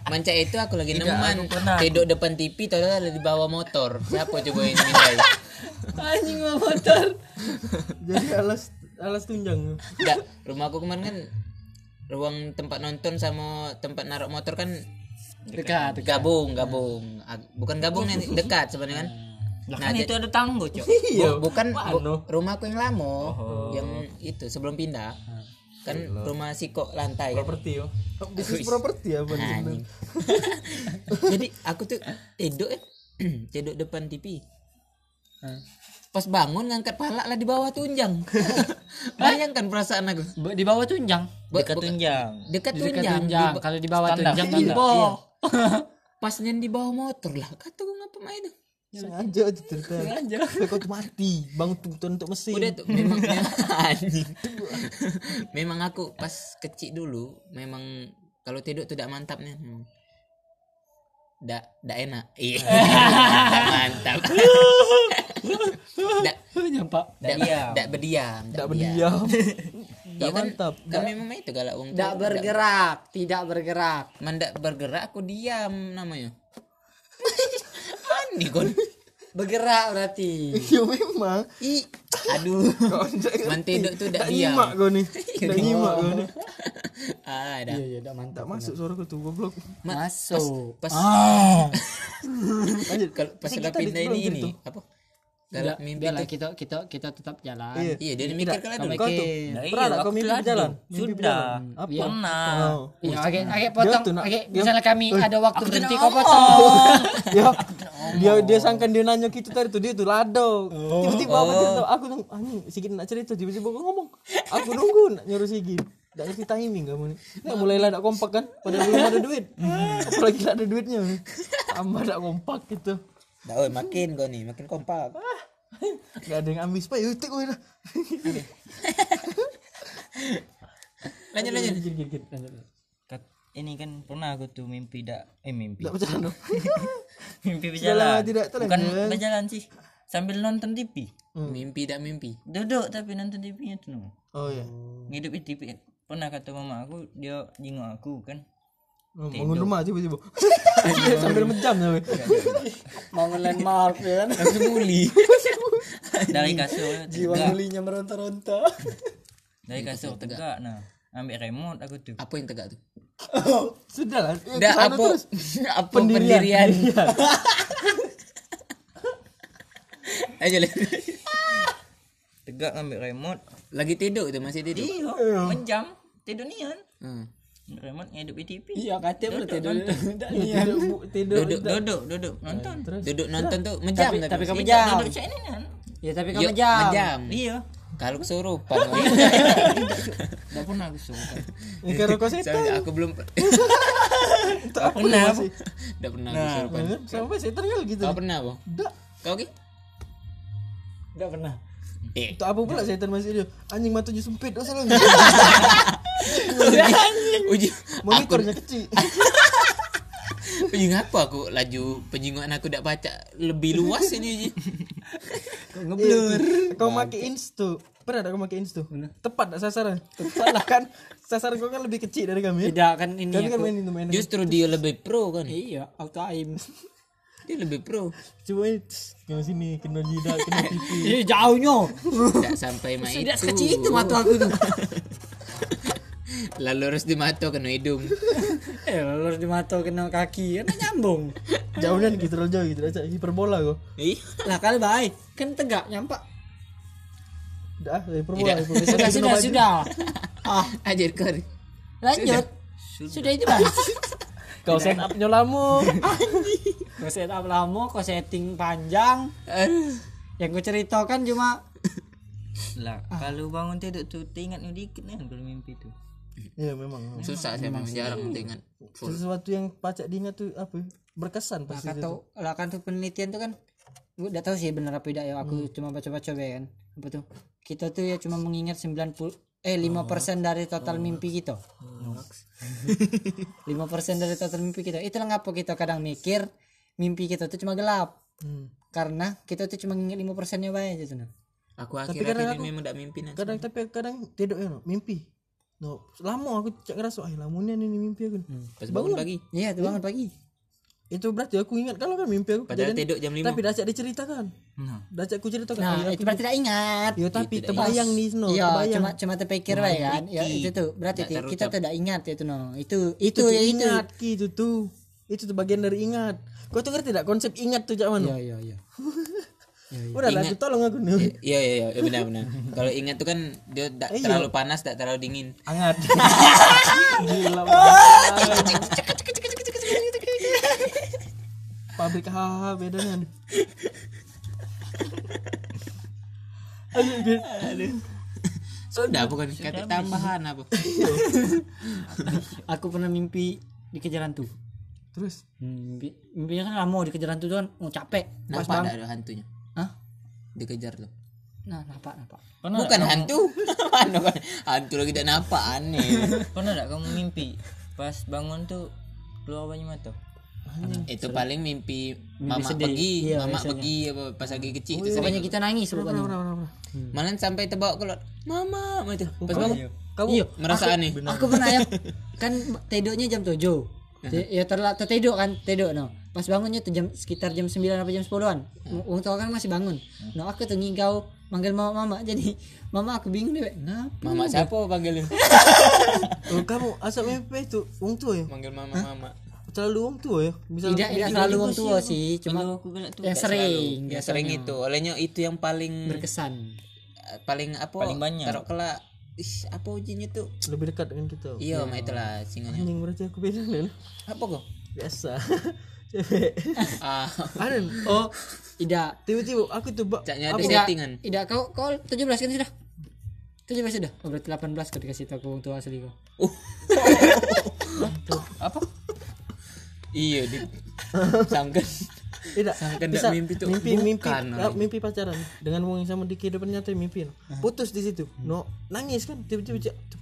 [SPEAKER 3] manca itu aku lagi neman tidur depan TV tahu ada di bawah motor siapa coba ini nilai
[SPEAKER 4] Anjing bawa motor.
[SPEAKER 1] Jadi alas alas tunjang.
[SPEAKER 3] enggak rumahku kemarin kan ruang tempat nonton sama tempat naruh motor kan
[SPEAKER 4] Dekat.
[SPEAKER 3] gabung gabung Ag- bukan gabung nih dekat sebenarnya kan
[SPEAKER 2] kan itu ada tanggo cok
[SPEAKER 3] Bu- bukan bu- rumahku yang lama yang itu sebelum pindah kan rumah si kok lantai kan.
[SPEAKER 1] Properti yo. Bisnis properti apa nih?
[SPEAKER 3] Anjing. jadi aku tuh tidur eh tidur depan TV pas bangun ngangkat pala lah di bawah tunjang bayangkan perasaan aku
[SPEAKER 2] di bawah tunjang
[SPEAKER 3] Ba-
[SPEAKER 2] dekat
[SPEAKER 3] bukan-
[SPEAKER 2] tunjang
[SPEAKER 3] dekat
[SPEAKER 4] Dekat
[SPEAKER 3] tunjang,
[SPEAKER 4] tunjang.
[SPEAKER 3] di ba-
[SPEAKER 4] Kalau di bawah
[SPEAKER 2] standar,
[SPEAKER 4] tunjang
[SPEAKER 2] standar.
[SPEAKER 4] ibo.
[SPEAKER 2] Iya.
[SPEAKER 3] pas nyen di bawah motor lah kata gue ngapa main tuh
[SPEAKER 1] Sengaja aja cerita. Sengaja. Kau tuh mati. Bang tuntun untuk mesin.
[SPEAKER 3] udah tuh memang ya. anjing memang aku pas kecil dulu memang kalau tidur tuh tidak mantap nih memang dak dak enak iya Dak mantap dak
[SPEAKER 4] Nyampak.
[SPEAKER 3] dak dak berdiam dak
[SPEAKER 1] Tidak
[SPEAKER 3] Ya.
[SPEAKER 1] berdiam.
[SPEAKER 3] Iya
[SPEAKER 1] Tidak
[SPEAKER 3] kan,
[SPEAKER 1] mantap.
[SPEAKER 3] kan memang itu galak wong
[SPEAKER 4] Tidak
[SPEAKER 3] tua,
[SPEAKER 4] bergerak, tidak bergerak.
[SPEAKER 3] dak- mendak bergerak aku diam namanya aneh kon
[SPEAKER 4] Bergerak berarti.
[SPEAKER 1] Ya memang.
[SPEAKER 3] i aduh man tidur tuh dak diam
[SPEAKER 1] Nyimak kau nih. Tidak nyimak kau nih.
[SPEAKER 3] ah dah
[SPEAKER 4] Iya, tidak mantap.
[SPEAKER 1] Tak masuk suara kau tuh goblok.
[SPEAKER 4] Masuk.
[SPEAKER 3] pas
[SPEAKER 1] ah, Lanjut.
[SPEAKER 3] kalau pas
[SPEAKER 1] Masih
[SPEAKER 3] udah
[SPEAKER 1] kita di-
[SPEAKER 3] pindah
[SPEAKER 1] belum
[SPEAKER 3] ini ini
[SPEAKER 1] cerita.
[SPEAKER 3] apa galak
[SPEAKER 4] Tidak,
[SPEAKER 3] mimpi
[SPEAKER 4] biarlah
[SPEAKER 3] tuh.
[SPEAKER 4] kita kita kita tetap jalan.
[SPEAKER 1] Iya.
[SPEAKER 3] iya dia mikir kalah
[SPEAKER 4] Kau
[SPEAKER 3] dulu
[SPEAKER 1] Kau tuh
[SPEAKER 2] Nah,
[SPEAKER 4] mikir.
[SPEAKER 2] iya,
[SPEAKER 1] pernah nggak kau
[SPEAKER 2] aku
[SPEAKER 1] mimpi
[SPEAKER 2] telah
[SPEAKER 1] berjalan?
[SPEAKER 2] dulu.
[SPEAKER 1] Mimpi
[SPEAKER 2] Sudah.
[SPEAKER 1] berjalan. Apa?
[SPEAKER 4] Iya.
[SPEAKER 2] Pernah.
[SPEAKER 1] Oh.
[SPEAKER 4] Ya, oke, oke
[SPEAKER 1] Dia
[SPEAKER 4] potong.
[SPEAKER 1] tuh nak-
[SPEAKER 4] Oke,
[SPEAKER 1] dia-
[SPEAKER 4] misalnya kami ada waktu berhenti kau
[SPEAKER 2] ngomong.
[SPEAKER 4] potong.
[SPEAKER 1] Ya. Dia dia sangkan dia nanya kita tadi tuh dia tuh lado. Tiba-tiba aku cerita aku tuh anjing sikit nak cerita tiba-tiba kau ngomong. Aku nunggu nak nyuruh sikit. Tidak ngerti timing kamu nih. Nah, mulai lah tidak kompak kan? Padahal belum ada duit. Apalagi tidak ada duitnya. Tambah tidak kompak gitu.
[SPEAKER 3] Dah, oi, makin kau nih makin kompak
[SPEAKER 1] Gak ada yang ambis pak. Ya utik gue lah.
[SPEAKER 3] lanjut lanjut
[SPEAKER 2] Kat- ini kan pernah aku tuh mimpi dak eh mimpi
[SPEAKER 1] Tidak berjalan. no.
[SPEAKER 2] mimpi
[SPEAKER 1] Lah, Jalan
[SPEAKER 2] berjalan
[SPEAKER 1] tidak
[SPEAKER 2] bukan
[SPEAKER 1] terlalu.
[SPEAKER 2] berjalan sih sambil nonton TV
[SPEAKER 3] mimpi tak mimpi
[SPEAKER 2] duduk tapi nonton TV nya tuh no.
[SPEAKER 1] Oh ya.
[SPEAKER 2] ngidup di TV pernah kata mama aku dia jenguk aku kan
[SPEAKER 1] Bangun rumah tiba-tiba. Sambil menjam sampai.
[SPEAKER 4] Bangun landmark ya kan.
[SPEAKER 3] langsung bully
[SPEAKER 2] dari kasur
[SPEAKER 4] Jiwa
[SPEAKER 2] tegak
[SPEAKER 4] mulinya meronta-ronta.
[SPEAKER 2] dari kasur tegak nah ambil remote aku tuh
[SPEAKER 3] apa yang tegak tuh
[SPEAKER 1] Sudah lah. ya,
[SPEAKER 3] dah
[SPEAKER 1] kesana
[SPEAKER 3] apa
[SPEAKER 1] terus.
[SPEAKER 3] apa pendirian aja lah
[SPEAKER 2] tegak ambil remote
[SPEAKER 3] lagi tidur tuh masih tidur
[SPEAKER 2] iyo menjam tidur nian
[SPEAKER 3] Hmm.
[SPEAKER 2] ambil remote ngidup di TV
[SPEAKER 4] Iya, katanya boleh tidur.
[SPEAKER 1] Tidur, Bu, tidur.
[SPEAKER 3] duduk duduk
[SPEAKER 2] duduk duduk nonton
[SPEAKER 3] duduk nonton tuh menjam
[SPEAKER 4] Tapi- tapi
[SPEAKER 3] tapi
[SPEAKER 4] kau
[SPEAKER 2] Tidak,
[SPEAKER 4] Jam.
[SPEAKER 2] duduk cek ini nian
[SPEAKER 4] Ya, tapi kau
[SPEAKER 3] Yuk,
[SPEAKER 4] jam.
[SPEAKER 3] menjam
[SPEAKER 2] iya
[SPEAKER 3] kalau kesurupan kau.
[SPEAKER 2] tidak pernah aku suka
[SPEAKER 1] Ini karo kau setan.
[SPEAKER 3] Soalnya aku belum
[SPEAKER 1] Tak
[SPEAKER 2] pernah.
[SPEAKER 3] tidak pernah kesurupan
[SPEAKER 1] Sampai setan kan gitu.
[SPEAKER 3] kau pernah boh
[SPEAKER 1] Dak.
[SPEAKER 3] kau ki
[SPEAKER 1] Enggak pernah.
[SPEAKER 3] eh
[SPEAKER 1] Untuk apa pula setan masih dia? Anjing matanya sempit. Oh salah.
[SPEAKER 3] uji aku
[SPEAKER 1] Monitornya kecil.
[SPEAKER 3] Penying apa aku laju penyinguan aku tidak baca lebih luas ini Ji.
[SPEAKER 5] ngeblur
[SPEAKER 1] Iya, Kau pakai instu. Pernah tak kau pakai instu? Tepat tak sasaran? Tepat lah kan. Sasaran kau kan lebih kecil dari kami.
[SPEAKER 4] Tidak kan ini
[SPEAKER 1] Kami kan
[SPEAKER 4] aku.
[SPEAKER 1] main itu main.
[SPEAKER 3] Justru dia lebih pro kan.
[SPEAKER 4] Iya, auto aim.
[SPEAKER 3] Dia lebih pro.
[SPEAKER 1] Coba ini. tss, Kena sini, kena jidat, kena pipi.
[SPEAKER 4] Ini jauhnya.
[SPEAKER 3] Tidak sampai mah itu.
[SPEAKER 4] itu mata aku tuh.
[SPEAKER 3] Lalu harus di mata kena hidung.
[SPEAKER 4] eh, lurus di mata kena kaki, kena nyambung.
[SPEAKER 1] Jauh kan gitu terlalu jauh gitu. Acak hiperbola kau.
[SPEAKER 3] Ih,
[SPEAKER 4] lah kali baik, kan tegak nyampak.
[SPEAKER 1] Dah, hiperbola. hiperbola.
[SPEAKER 4] Sudah sudah sudah. Ah,
[SPEAKER 3] ajar kau.
[SPEAKER 4] lanjut. Sudah, itu bang.
[SPEAKER 1] Kau set upnya lama.
[SPEAKER 4] kau setup lama, kau setting panjang.
[SPEAKER 1] Eh.
[SPEAKER 4] Yang gue ceritakan cuma
[SPEAKER 6] lah kalau bangun tidur tuh teringat ni dikit kan kalau mimpi tu
[SPEAKER 1] Iya Ya, memang.
[SPEAKER 3] Susah saya memang jarang tu ingat. Full.
[SPEAKER 1] Sesuatu yang pacak diingat tuh apa? ya? Berkesan pasti.
[SPEAKER 4] kan tuh lah kan tuh penelitian tuh kan gue udah tahu sih bener apa tidak ya aku cuma baca-baca be kan apa tuh kita tuh ya cuma mengingat 90 eh 5% dari total mimpi kita 5% dari total mimpi kita itulah ngapa kita kadang mikir mimpi kita tuh cuma gelap
[SPEAKER 1] Hmm.
[SPEAKER 4] karena kita tuh cuma ingat 5% nya bae gitu nah
[SPEAKER 3] Aku akhir-akhir ini memang tak mimpi nanti.
[SPEAKER 1] Kadang tapi kadang tidur ya, no? mimpi. No, lama aku cak ngerasa, ah lamunya ini mimpi aku.
[SPEAKER 4] Hmm.
[SPEAKER 3] Pas bangun pagi.
[SPEAKER 4] iya tuh bangun pagi
[SPEAKER 1] Itu berarti aku ingat kalau kan mimpi aku. kejadian.
[SPEAKER 3] Padahal tidur jam 5.
[SPEAKER 1] Tapi dah cak diceritakan. Dah cak ku ceritakan.
[SPEAKER 4] nah
[SPEAKER 1] "Ah, iya,
[SPEAKER 4] itu berarti tidak ingat
[SPEAKER 1] Yo tapi terbayang nih no,
[SPEAKER 4] Iya,
[SPEAKER 1] terbayang.
[SPEAKER 4] cuma cuma terpikir bae kan. Ya itu tuh. Berarti ti- kita tidak ingat itu no. Itu itu
[SPEAKER 1] Itu
[SPEAKER 4] ya, itu.
[SPEAKER 1] ingat ki itu tuh. Itu tuh bagian dari ingat. Kau tuh ngerti tidak konsep ingat tuh cak mana?
[SPEAKER 4] Iya, iya. Ya,
[SPEAKER 1] Udah lah, aku tolong aku nih.
[SPEAKER 3] Iya iya iya ya, benar benar. Kalau ingat tuh kan dia tak terlalu panas, tak terlalu dingin.
[SPEAKER 1] Angat. Gila. Pabrik hahaha beda kan.
[SPEAKER 3] Sudah bukan kata tambahan apa.
[SPEAKER 4] aku pernah mimpi dikejar hantu
[SPEAKER 1] Terus
[SPEAKER 4] mimpi mimpinya kan lama dikejar hantu tu kan oh, capek
[SPEAKER 3] Nampak tak ada hantunya?
[SPEAKER 4] Hah?
[SPEAKER 3] Dikejar lo.
[SPEAKER 4] nah nampak nampak
[SPEAKER 3] Bukan hantu. Mana kan? Hantu lagi tak nampak aneh.
[SPEAKER 6] pernah tak kamu mimpi pas bangun tu keluar banyak mata
[SPEAKER 3] Itu paling mimpi mama pergi, mama pergi apa pas lagi kecil itu sering.
[SPEAKER 4] pokoknya kita nangis pokoknya
[SPEAKER 3] Malah sampai terbawa keluar. Mama, macam tu. Pas bangun
[SPEAKER 4] kamu iya
[SPEAKER 3] merasa aneh.
[SPEAKER 4] aku pernah ya kan tidurnya jam 7 Ti- ya terla tertidur kan tidur no pas bangunnya tuh jam sekitar jam 9 apa jam 10-an Wong tua kan masih bangun no aku tuh ngigau manggil mama mama jadi mama aku bingung deh ngap
[SPEAKER 3] Mama siapa panggil lu?
[SPEAKER 1] oh, kamu asap mimpi itu wong tua ya?
[SPEAKER 3] Manggil mama mama.
[SPEAKER 1] Terlalu wong tua ya? Misalnya
[SPEAKER 4] tidak tidak selalu orang tua sih cuma yang sering
[SPEAKER 3] Ya sering itu. Olehnya itu yang paling
[SPEAKER 4] berkesan
[SPEAKER 3] paling apa? Paling banyak. Taruh kelak. Ih, apa ujinya tuh?
[SPEAKER 1] lebih dekat dengan kita.
[SPEAKER 3] Iya, mak itulah singanya.
[SPEAKER 1] Anjing berarti aku beda nih.
[SPEAKER 3] Apa kok?
[SPEAKER 1] Biasa. Cewek.
[SPEAKER 3] Ah,
[SPEAKER 1] Aduh,
[SPEAKER 4] oh tidak
[SPEAKER 1] tiba-tiba aku tuh bak
[SPEAKER 3] caknya ada
[SPEAKER 4] Tidak,
[SPEAKER 3] settingan.
[SPEAKER 4] tidak kau kau 17 kan sudah. 17 sudah. Oh, berarti 18 kau dikasih tahu ke orang tua asli kau.
[SPEAKER 3] Iya, di sangkan.
[SPEAKER 1] tidak
[SPEAKER 3] Sangkan tidak mimpi tuh.
[SPEAKER 1] Eh, mimpi
[SPEAKER 3] Bukan,
[SPEAKER 1] mimpi
[SPEAKER 3] Roy.
[SPEAKER 1] ah, mimpi pacaran dengan wong yang sama di kehidupan nyata mimpi no.
[SPEAKER 3] Ah.
[SPEAKER 1] putus di
[SPEAKER 3] Hmm.
[SPEAKER 1] situ no nangis kan tiba-tiba cak, tuh.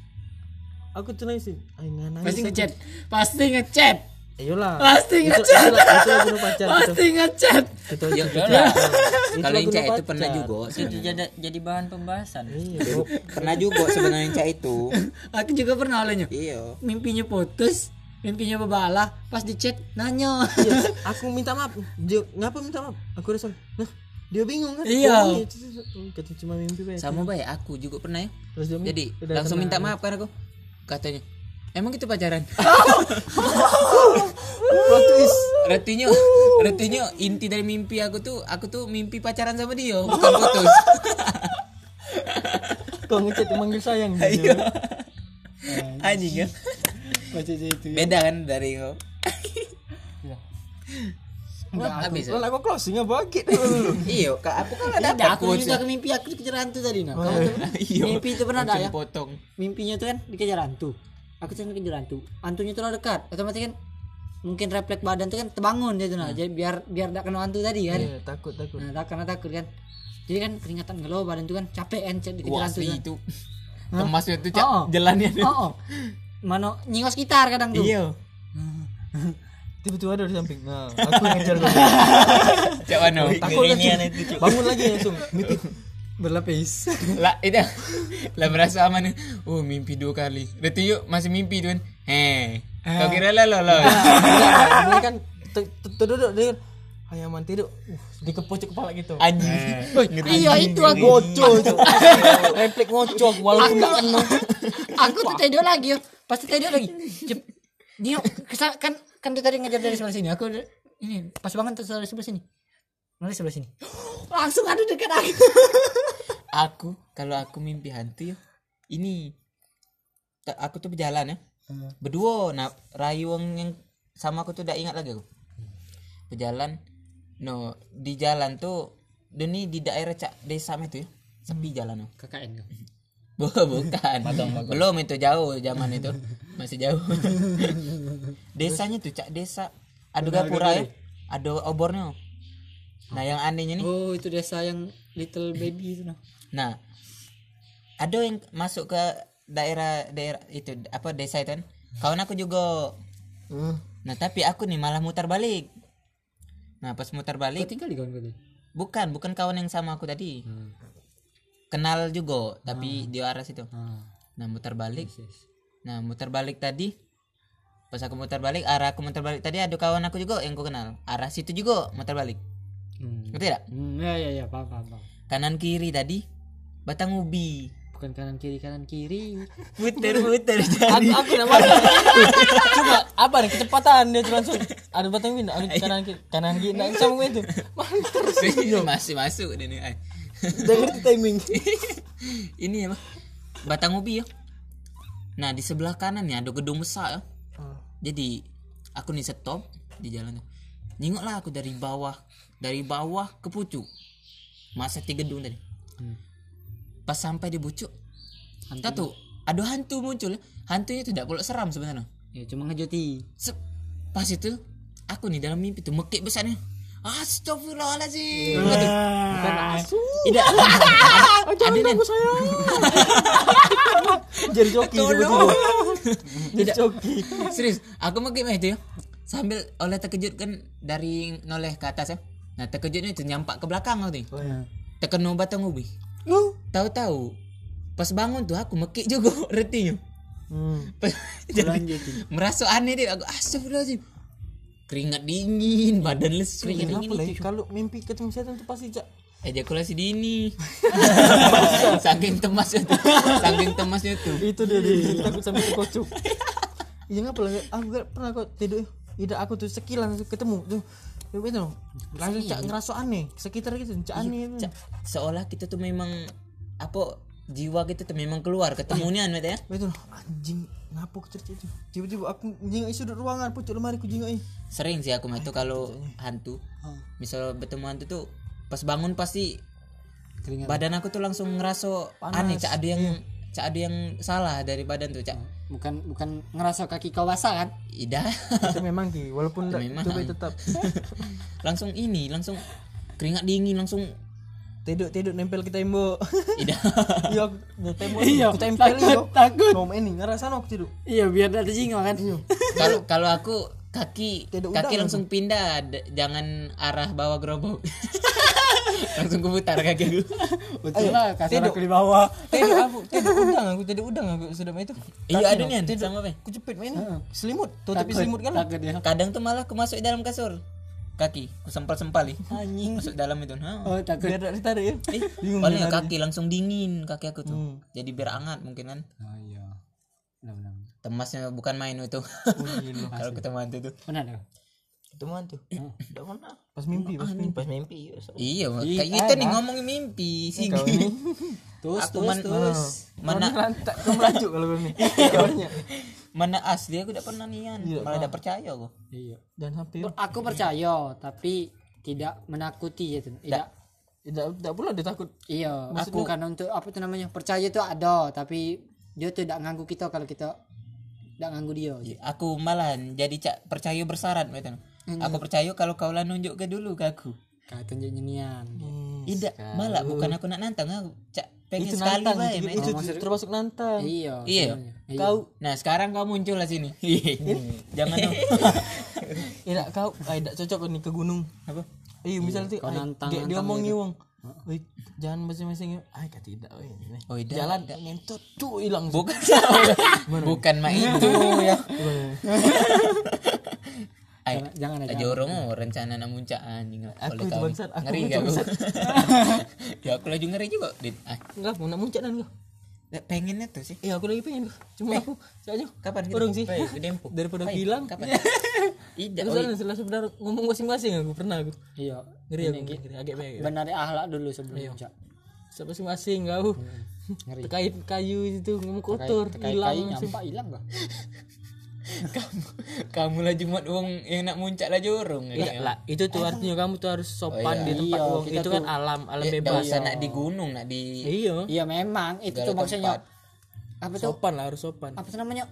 [SPEAKER 1] aku tuh nangis ayo nggak nangis
[SPEAKER 4] Pasti ngechat. Pasti ngechat.
[SPEAKER 1] ayolah
[SPEAKER 4] Pasti
[SPEAKER 1] Itu-
[SPEAKER 4] ngechat.
[SPEAKER 1] itulah itulah guna pacar gitu
[SPEAKER 4] Pasti ngechat.
[SPEAKER 1] gitu
[SPEAKER 3] Ya
[SPEAKER 1] gitu.
[SPEAKER 3] udahlah.
[SPEAKER 1] Itulah
[SPEAKER 3] Kalau
[SPEAKER 1] guna
[SPEAKER 3] Inca itu
[SPEAKER 1] pacar.
[SPEAKER 3] pernah juga.
[SPEAKER 1] Kan,
[SPEAKER 6] itu jadi jadi bahan pembahasan
[SPEAKER 1] iya bro.
[SPEAKER 3] Pernah juga sebenarnya Inca itu.
[SPEAKER 4] Aku juga pernah olehnya.
[SPEAKER 3] Iya.
[SPEAKER 4] Mimpinya putus, mimpinya berbalah, pas di chat nanya.
[SPEAKER 1] Iya, aku minta maaf dia ngapa minta maaf aku rasa nah dia bingung kan Oh,
[SPEAKER 4] Iya.
[SPEAKER 1] iya, tuh, tuh, tuh. kata cuma mimpi baik
[SPEAKER 3] Sama baik aku juga pernah ya.
[SPEAKER 1] terus dia
[SPEAKER 3] Jadi
[SPEAKER 1] udah
[SPEAKER 3] langsung
[SPEAKER 1] tenang.
[SPEAKER 3] minta maaf kan aku. Katanya, "Emang kita pacaran?"
[SPEAKER 1] Plot twist.
[SPEAKER 3] Artinya, artinya inti dari mimpi aku tuh, aku tuh mimpi pacaran sama dia, bukan putus.
[SPEAKER 1] kau ngechat manggil sayang gitu.
[SPEAKER 3] Iya. Anjing kan. Beda kan dari kau. Enggak habis.
[SPEAKER 1] Lah aku closing apa gitu dulu.
[SPEAKER 3] Iya, kak aku kan ada
[SPEAKER 4] Tidak, aku juga mimpi aku dikejar hantu tadi nah. Kamu tuh pernah-
[SPEAKER 3] Iya.
[SPEAKER 4] mimpi itu pernah ada ya?
[SPEAKER 3] potong.
[SPEAKER 4] mimpinya tuh kan dikejar hantu aku tuh dikejar hantu hantunya tuh lah dekat otomatis kan mungkin refleks badan tuh kan terbangun dia tuh nah jadi biar biar gak kena hantu tadi kan
[SPEAKER 1] Iya, takut takut.
[SPEAKER 4] nah tak karena takut kan jadi kan keringatan galau badan tuh kan capek kan cet dikejar
[SPEAKER 3] Wah,
[SPEAKER 4] hantu
[SPEAKER 3] asli
[SPEAKER 4] kan
[SPEAKER 3] itu. Kemas itu
[SPEAKER 4] Oh.
[SPEAKER 3] jalannya.
[SPEAKER 2] Iya,
[SPEAKER 4] oh, oh. mano nyingos gitar kadang tuh
[SPEAKER 3] Iya.
[SPEAKER 1] tiba-tiba ada di samping nah aku yang ngejar kau
[SPEAKER 3] Cak Wano.
[SPEAKER 1] takut kan Sum?
[SPEAKER 6] Ngerinya itu, Cuk.
[SPEAKER 1] bangun lagi langsung mimpi
[SPEAKER 2] berlapis
[SPEAKER 3] lah itu lah merasa aman nih. Oh mimpi dua kali. Berarti yuk masih mimpi tuan. Heh.
[SPEAKER 4] Eh.
[SPEAKER 3] Kau kira lah lo lo.
[SPEAKER 1] ini kan ter- ter- terduduk dia kan ayaman tidur uh, dikepocok kepala gitu
[SPEAKER 4] Eh.
[SPEAKER 3] Anjing.
[SPEAKER 2] iya itu aku
[SPEAKER 1] ngocok Cuk. refleks ngocok walaupun
[SPEAKER 2] aku aku tuh tidur lagi yo pasti tidur lagi Jep. dia kesa- kan kan dia tadi ngejar dari sebelah sini aku udah- ini pas bangun terus dari sebelah sini dari sebelah sini langsung ada dekat aku
[SPEAKER 3] aku kalau aku mimpi hantu ya ini Ta- aku tuh berjalan ya berdua nah rayuang yang sama aku tuh udah ingat lagi aku berjalan no di jalan tuh ini di daerah cak desa itu ya sepi jalan oh.
[SPEAKER 2] KKN kau.
[SPEAKER 3] Bu- bukan belum itu jauh zaman itu masih jauh desanya tuh cak desa ada gapura ya ada obornya nah yang anehnya nih
[SPEAKER 2] oh itu desa yang little baby itu no
[SPEAKER 3] Nah, ada yang masuk ke daerah daerah itu apa desa itu kan? Kawan aku juga. Nah, tapi aku nih malah mutar balik. Nah, pas mutar
[SPEAKER 2] kau
[SPEAKER 3] balik
[SPEAKER 2] tinggal di kawan kau tu?
[SPEAKER 3] bukan bukan kawan yang sama aku tadi. Kenal juga, tapi di arah situ. Nah, mutar balik. Nah, mutar balik tadi pas aku mutar balik arah aku mutar balik tadi ada kawan aku juga yang ku kenal arah situ juga mutar balik
[SPEAKER 2] hmm.
[SPEAKER 3] ngerti tidak
[SPEAKER 2] hmm ya ya ya paham paham paham
[SPEAKER 3] kanan kiri tadi batang ubi
[SPEAKER 2] bukan kanan kiri kanan kiri
[SPEAKER 3] puter puter
[SPEAKER 1] aku aku nama coba apa nih kecepatan dia tuh langsung ada batang pindah ada kanan kiri kanan kiri nah sama itu
[SPEAKER 3] masih masuk dia nih ay.
[SPEAKER 1] udah ngerti timing
[SPEAKER 3] ini apa batang ubi ya nah di sebelah kanannya ada gedung besar ya jadi aku nih stop di jalan tuh nyingoklah aku dari bawah dari bawah ke pucuk masa tiga gedung tadi pas sampai di pucuk hantu tuh ada hantu muncul ya. hantunya tuh tidak boleh seram sebenarnya
[SPEAKER 2] ya cuma ngejoti
[SPEAKER 3] Sep, pas itu aku nih dalam mimpi tuh mekik besar nih Astagfirullahaladzim Kata,
[SPEAKER 2] bukan asu
[SPEAKER 3] Tidak. Ada nih.
[SPEAKER 1] jadi joki
[SPEAKER 3] Tolong.
[SPEAKER 1] jadi joki
[SPEAKER 3] Serius, aku mau gimana itu ya? Sambil oleh terkejut kan dari noleh ke atas ya. Nah, terkejutnya itu nyampak ke belakang aku tuh. Terkena batang ubi. Tahu-tahu pas bangun tuh aku mekik juga retinya.
[SPEAKER 1] Hmm.
[SPEAKER 3] Pas- Jadi, merasa aneh deh aku astagfirullahaladzim keringat dingin badan lesu keringat
[SPEAKER 1] Kenapa lagi kalau mimpi ketemu setan tuh pasti cak
[SPEAKER 3] ejakulasi dini saking temasnya tuh saking temasnya tuh
[SPEAKER 1] itu dia dia takut sampai kocok iya ngapa lah aku gak pernah kok tidur tidak aku tuh sekilan langsung ketemu Ya, tuh itu itu langsung cak ngerasa aneh sekitar gitu cak aneh
[SPEAKER 3] Ca- seolah kita tuh memang apa jiwa kita tuh memang keluar ketemunya nih ya
[SPEAKER 1] itu anjing ngapa aku cerita itu tiba-tiba aku jingak sudut ruangan pucuk lemari aku jingak
[SPEAKER 3] sering sih aku mah tuh kalau hantu misal bertemu hantu tuh pas bangun pasti badan aku tuh langsung ngerasa aneh cak ada yang cak ada yang salah dari badan tuh cak
[SPEAKER 2] bukan bukan ngerasa kaki kau basah kan
[SPEAKER 3] ida
[SPEAKER 1] itu memang ki walaupun tak-
[SPEAKER 3] memang.
[SPEAKER 1] tapi tetap
[SPEAKER 3] langsung ini langsung keringat dingin langsung
[SPEAKER 1] tidur tidur nempel ke tembok
[SPEAKER 3] ida
[SPEAKER 1] iya aku- ya, tembok iya aku tempel
[SPEAKER 2] takut, takut.
[SPEAKER 1] nom ini ngerasa aku tidur
[SPEAKER 2] iya biar ada jingok kan
[SPEAKER 3] kalau kalau aku kaki
[SPEAKER 1] Tidak
[SPEAKER 3] kaki
[SPEAKER 1] udang
[SPEAKER 3] langsung pindah D- jangan arah bawah gerobok langsung kuputar kaki aku
[SPEAKER 2] betul lah kasar
[SPEAKER 1] tidur.
[SPEAKER 2] aku di bawah
[SPEAKER 1] tidur aku tidur udang aku tidur udang aku sudah itu
[SPEAKER 3] Iya ada
[SPEAKER 1] Kaki,
[SPEAKER 3] nih
[SPEAKER 1] no. tidur
[SPEAKER 3] sama apa?
[SPEAKER 1] aku jepit main selimut tutupi selimut kan
[SPEAKER 2] takut ya
[SPEAKER 3] Kadang tuh malah aku masuk dalam kasur. Kaki, aku sempal-sempali. Anjing. Masuk dalam itu. Ha.
[SPEAKER 2] oh takut
[SPEAKER 1] biar tak ditarik ya
[SPEAKER 3] Eh, paling kaki langsung dingin kaki aku tuh.
[SPEAKER 1] Hmm.
[SPEAKER 3] Jadi biar hangat mungkin kan.
[SPEAKER 2] oh iya benar-benar
[SPEAKER 3] Temasnya bukan main
[SPEAKER 1] Oh,
[SPEAKER 3] itu.
[SPEAKER 1] iya,
[SPEAKER 3] Kalau ketemu hantu tuh.
[SPEAKER 2] benar dong
[SPEAKER 6] Ketemu hantu. Enggak pernah.
[SPEAKER 1] pas mimpi pas mimpi
[SPEAKER 6] Pas mimpi.
[SPEAKER 3] Iya, kayak gitu nih ngomongin mimpi sih. Terus, aku man- mana
[SPEAKER 1] tak kau merajuk kalau begini
[SPEAKER 3] mana asli aku tidak pernah nian. Malah tidak percaya aku.
[SPEAKER 2] iya
[SPEAKER 1] jangan sampai
[SPEAKER 2] aku percaya tapi tidak menakuti ya tuh tidak
[SPEAKER 1] tidak tidak Eh, pula dia takut
[SPEAKER 2] iya aku karena untuk apa tuh namanya percaya itu ada tapi dia tidak nganggu kita kalau kita tidak nganggu dia
[SPEAKER 3] Aku malah jadi cak percaya bersarat gitu. Aku percaya kalau kau lah nunjuk ke dulu ke aku.
[SPEAKER 2] kayak tunjuk nyenian gitu.
[SPEAKER 3] Tidak, malah bukan aku nak nantang aku. Cak pengen sekali bae. main.
[SPEAKER 1] itu termasuk nantang
[SPEAKER 4] Eh.
[SPEAKER 2] iya
[SPEAKER 3] Iya.
[SPEAKER 2] sebenarnya.
[SPEAKER 3] Kau. Nah, sekarang kau muncul lah sini. Jangan dong.
[SPEAKER 1] eh dak kau eh dak cocok ni ke gunung apa eh misal tu
[SPEAKER 3] kau
[SPEAKER 1] ai,
[SPEAKER 3] nantang-
[SPEAKER 1] dia, dia
[SPEAKER 3] nantang
[SPEAKER 1] omong
[SPEAKER 3] dia
[SPEAKER 1] ni wong Oi, jangan masing-masing. Ai kata tidak oi.
[SPEAKER 3] Oi, dak,
[SPEAKER 1] Jalan dak ngentot tu hilang. Bukan.
[SPEAKER 3] bukan mak itu ya Ay,
[SPEAKER 2] jangan,
[SPEAKER 3] jangan aja orang mau rencana nak muncak anjing
[SPEAKER 1] Aku
[SPEAKER 3] oleh
[SPEAKER 1] itu
[SPEAKER 3] kau ni.
[SPEAKER 1] bangsat, aku
[SPEAKER 3] ngeri
[SPEAKER 1] muncak
[SPEAKER 3] kau ya aku lagi ngeri juga dit ah
[SPEAKER 1] Enggak, mau nak muncak dan kau.
[SPEAKER 3] pengennya tuh sih
[SPEAKER 1] Eh, Oh. Eh, aku lagi pengen. Cuma aku saja.
[SPEAKER 3] kapan kita
[SPEAKER 1] Kurang sih.
[SPEAKER 3] Baik, ke Dempo
[SPEAKER 1] Daripada
[SPEAKER 3] Baik,
[SPEAKER 1] hilang.
[SPEAKER 3] kapan ida
[SPEAKER 1] Terus ada setelah sebentar ngomong masing-masing aku pernah aku.
[SPEAKER 2] iya
[SPEAKER 1] Ngeri aku. ngeri, Agak baik.
[SPEAKER 2] benar akhlak dulu sebelum puncak
[SPEAKER 1] Sebab masing-masing kau.
[SPEAKER 2] ngeri
[SPEAKER 1] Terkait kayu itu ngomong
[SPEAKER 2] Kayak-
[SPEAKER 1] kotor,
[SPEAKER 2] kayak kayu
[SPEAKER 1] hilang.
[SPEAKER 2] nyampak hilang kah
[SPEAKER 3] kamu kamu lah jumat uang yang nak muncak lah Ya, jorong
[SPEAKER 1] Iya lah, itu tuh artinya kamu tuh harus sopan di tempat
[SPEAKER 2] Iya,
[SPEAKER 1] uang.
[SPEAKER 2] kita
[SPEAKER 1] Itu kan alam, alam
[SPEAKER 3] bebas
[SPEAKER 1] bebas.
[SPEAKER 3] ya, nak di gunung nak di
[SPEAKER 1] Iya.
[SPEAKER 2] iya memang itu tuh
[SPEAKER 3] Segala
[SPEAKER 2] maksudnya apa tuh
[SPEAKER 1] Sopan lah, harus sopan.
[SPEAKER 2] apa tuh namanya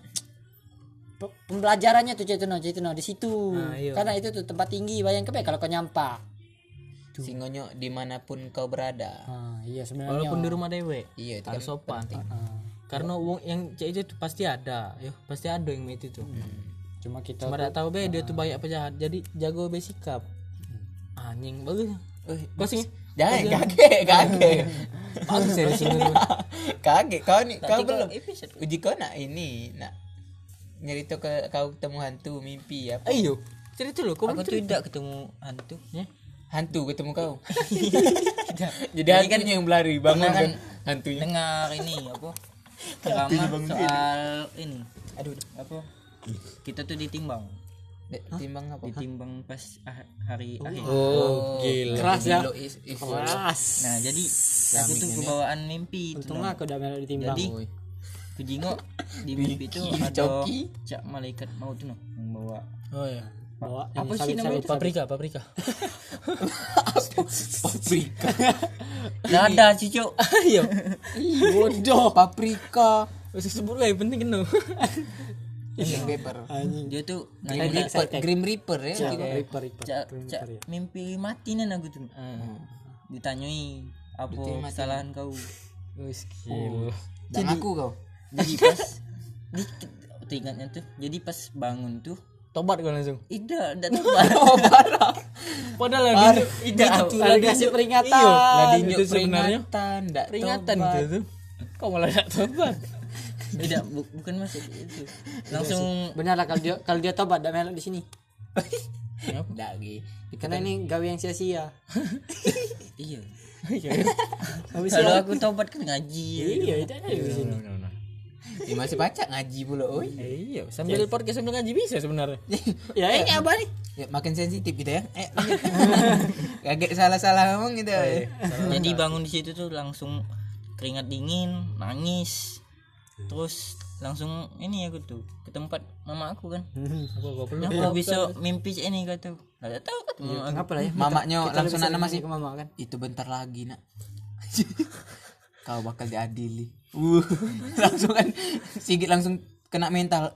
[SPEAKER 2] Pe- pembelajarannya tuh Cetno Cetno di situ
[SPEAKER 1] Ah, iya.
[SPEAKER 2] karena itu tuh tempat tinggi bayangkan be kalau kau nyampak
[SPEAKER 3] singonyo dimanapun kau berada
[SPEAKER 2] ah, iya sebenarnya
[SPEAKER 1] Walaupun di rumah dewe.
[SPEAKER 3] Iya, itu
[SPEAKER 1] harus sopan. Karena uang yang cek itu tuh pasti ada, ya pasti ada yang itu tuh.
[SPEAKER 2] cuma kita
[SPEAKER 1] Cuma tak tahu be dia tuh banyak penjahat. Jadi jago be sikap. Anjing bagus. Closing.
[SPEAKER 3] jangan Eh, kaget kaget
[SPEAKER 1] Bagus serius ini.
[SPEAKER 3] kaget kau nih kau
[SPEAKER 6] tiga
[SPEAKER 3] belum
[SPEAKER 6] episode.
[SPEAKER 3] uji kau nak ini nak nyerita ke kau ketemu hantu mimpi ya
[SPEAKER 1] Ayo, Eh, iya. cerita lu. Kau
[SPEAKER 6] Aku
[SPEAKER 1] belum cerita.
[SPEAKER 6] tidak ketemu Ha, hantu.
[SPEAKER 1] Ya?
[SPEAKER 3] hantu ketemu kau jadi hantunya yang berlari bangun kan hantunya
[SPEAKER 6] Dengar ini apa? Ceramah soal ini. Aduh, apa? Kita tuh ditimbang.
[SPEAKER 3] Dek, timbang apa
[SPEAKER 6] Ditimbang pas ah- hari akhir.
[SPEAKER 1] Oh, gila. Keras ya.
[SPEAKER 3] Lo is- is- keras
[SPEAKER 6] Nah, jadi aku tuh kebawaan mimpi itu.
[SPEAKER 2] untunglah aku udah melok ditimbang
[SPEAKER 6] Jadi ku jingok di mimpi itu ada cak malaikat maut tuh yang bawa
[SPEAKER 1] Oh ya.
[SPEAKER 2] bawa
[SPEAKER 1] Apa sih namanya? Paprika, paprika.
[SPEAKER 3] paprika
[SPEAKER 6] Nada cucu.
[SPEAKER 1] Ayo.
[SPEAKER 2] bodoh paprika
[SPEAKER 1] Usah sebut lah, Oh, yang penting kena.
[SPEAKER 3] Green Reaper
[SPEAKER 6] Dia tuh
[SPEAKER 3] Green
[SPEAKER 6] ngajak
[SPEAKER 3] Reaper Green Reaper ya
[SPEAKER 2] paprika paprika
[SPEAKER 6] cak cak mimpi mati nan aku tuh. Ah. Ditanyoi apa kesalahan kau.
[SPEAKER 1] Wis gila.
[SPEAKER 3] dan aku kau
[SPEAKER 6] Jadi pas dikit aku ingatnya tuh. Jadi pas bangun tuh
[SPEAKER 1] Tobat kau langsung.
[SPEAKER 6] Ida, dah tahu
[SPEAKER 1] Padahal lagi
[SPEAKER 3] tidak
[SPEAKER 2] itu lagi kasih peringatan
[SPEAKER 1] Iyo,
[SPEAKER 3] lagi
[SPEAKER 1] itu sebenarnya
[SPEAKER 3] peringatan ndak
[SPEAKER 1] peringatan gitu tuh. Kau malah tak tobat.
[SPEAKER 6] Tidak, bu- bukan masuk itu. Langsung
[SPEAKER 2] benar lah kalau dia kalau dia tobat udah melok di sini
[SPEAKER 3] ndak lagi
[SPEAKER 2] karena ini gawe yang sia-sia
[SPEAKER 6] iya.
[SPEAKER 2] habis
[SPEAKER 6] Kalau aku tobat kan ngaji.
[SPEAKER 2] iya itu ada di sini
[SPEAKER 3] Ya, masih baca ngaji pula oi
[SPEAKER 1] Iya, sambil podcast sambil ngaji bisa sebenarnya.
[SPEAKER 2] ya ini apa nih
[SPEAKER 3] ya, makin sensitif kita ya eh kaget salah-salah ngomong
[SPEAKER 1] Oh,
[SPEAKER 3] gitu
[SPEAKER 1] iya.
[SPEAKER 3] eh.
[SPEAKER 6] Jadi bangun di situ tuh langsung keringat dingin, nangis. Terus langsung ini aku tuh ke tempat mama aku kan.
[SPEAKER 1] Apa gua perlu?
[SPEAKER 6] Aku besok mimpi cik ini kata. Enggak tahu kan
[SPEAKER 2] apa lah ya
[SPEAKER 3] mamaknya langsung anak masih
[SPEAKER 2] ke mama kan
[SPEAKER 3] itu bentar lagi nak kau bakal diadili uh langsung kan sigit langsung kena mental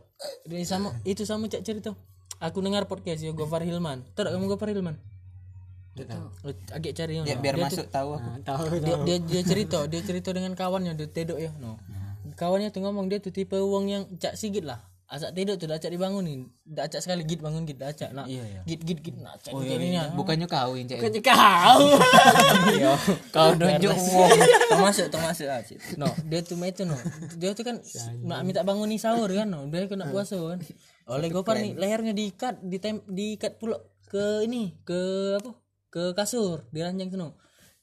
[SPEAKER 1] Ini sama itu sama cak cerita. Aku dengar podcast ya Gofar Hilman. Tahu tak kamu Gofar Hilman? Tahu. Agak cari ya.
[SPEAKER 3] ya, biar masuk tahu
[SPEAKER 1] Ah.
[SPEAKER 3] aku
[SPEAKER 1] Dia, dia, dia cerita, dia cerita dengan kawannya, dia tedok ya. No. Kawannya tuh ngomong dia tuh tipe uang yang cak sigit lah. Acak tidur tuh dah acak dibangunin. Dah acak sekali git bangun git dah acak nak. Git git git nak acak. Ya, Oh,
[SPEAKER 3] bukannya kau yang cek
[SPEAKER 2] kau
[SPEAKER 3] kau nunjuk uang
[SPEAKER 6] termasuk termasuk ah cik.
[SPEAKER 1] no dia tuh itu no dia tuh kan nak minta bangun nih sahur kan no dia kena puasa kan oleh gopar nih lehernya diikat di tem diikat pula ke ini ke apa ke kasur diranjang tuh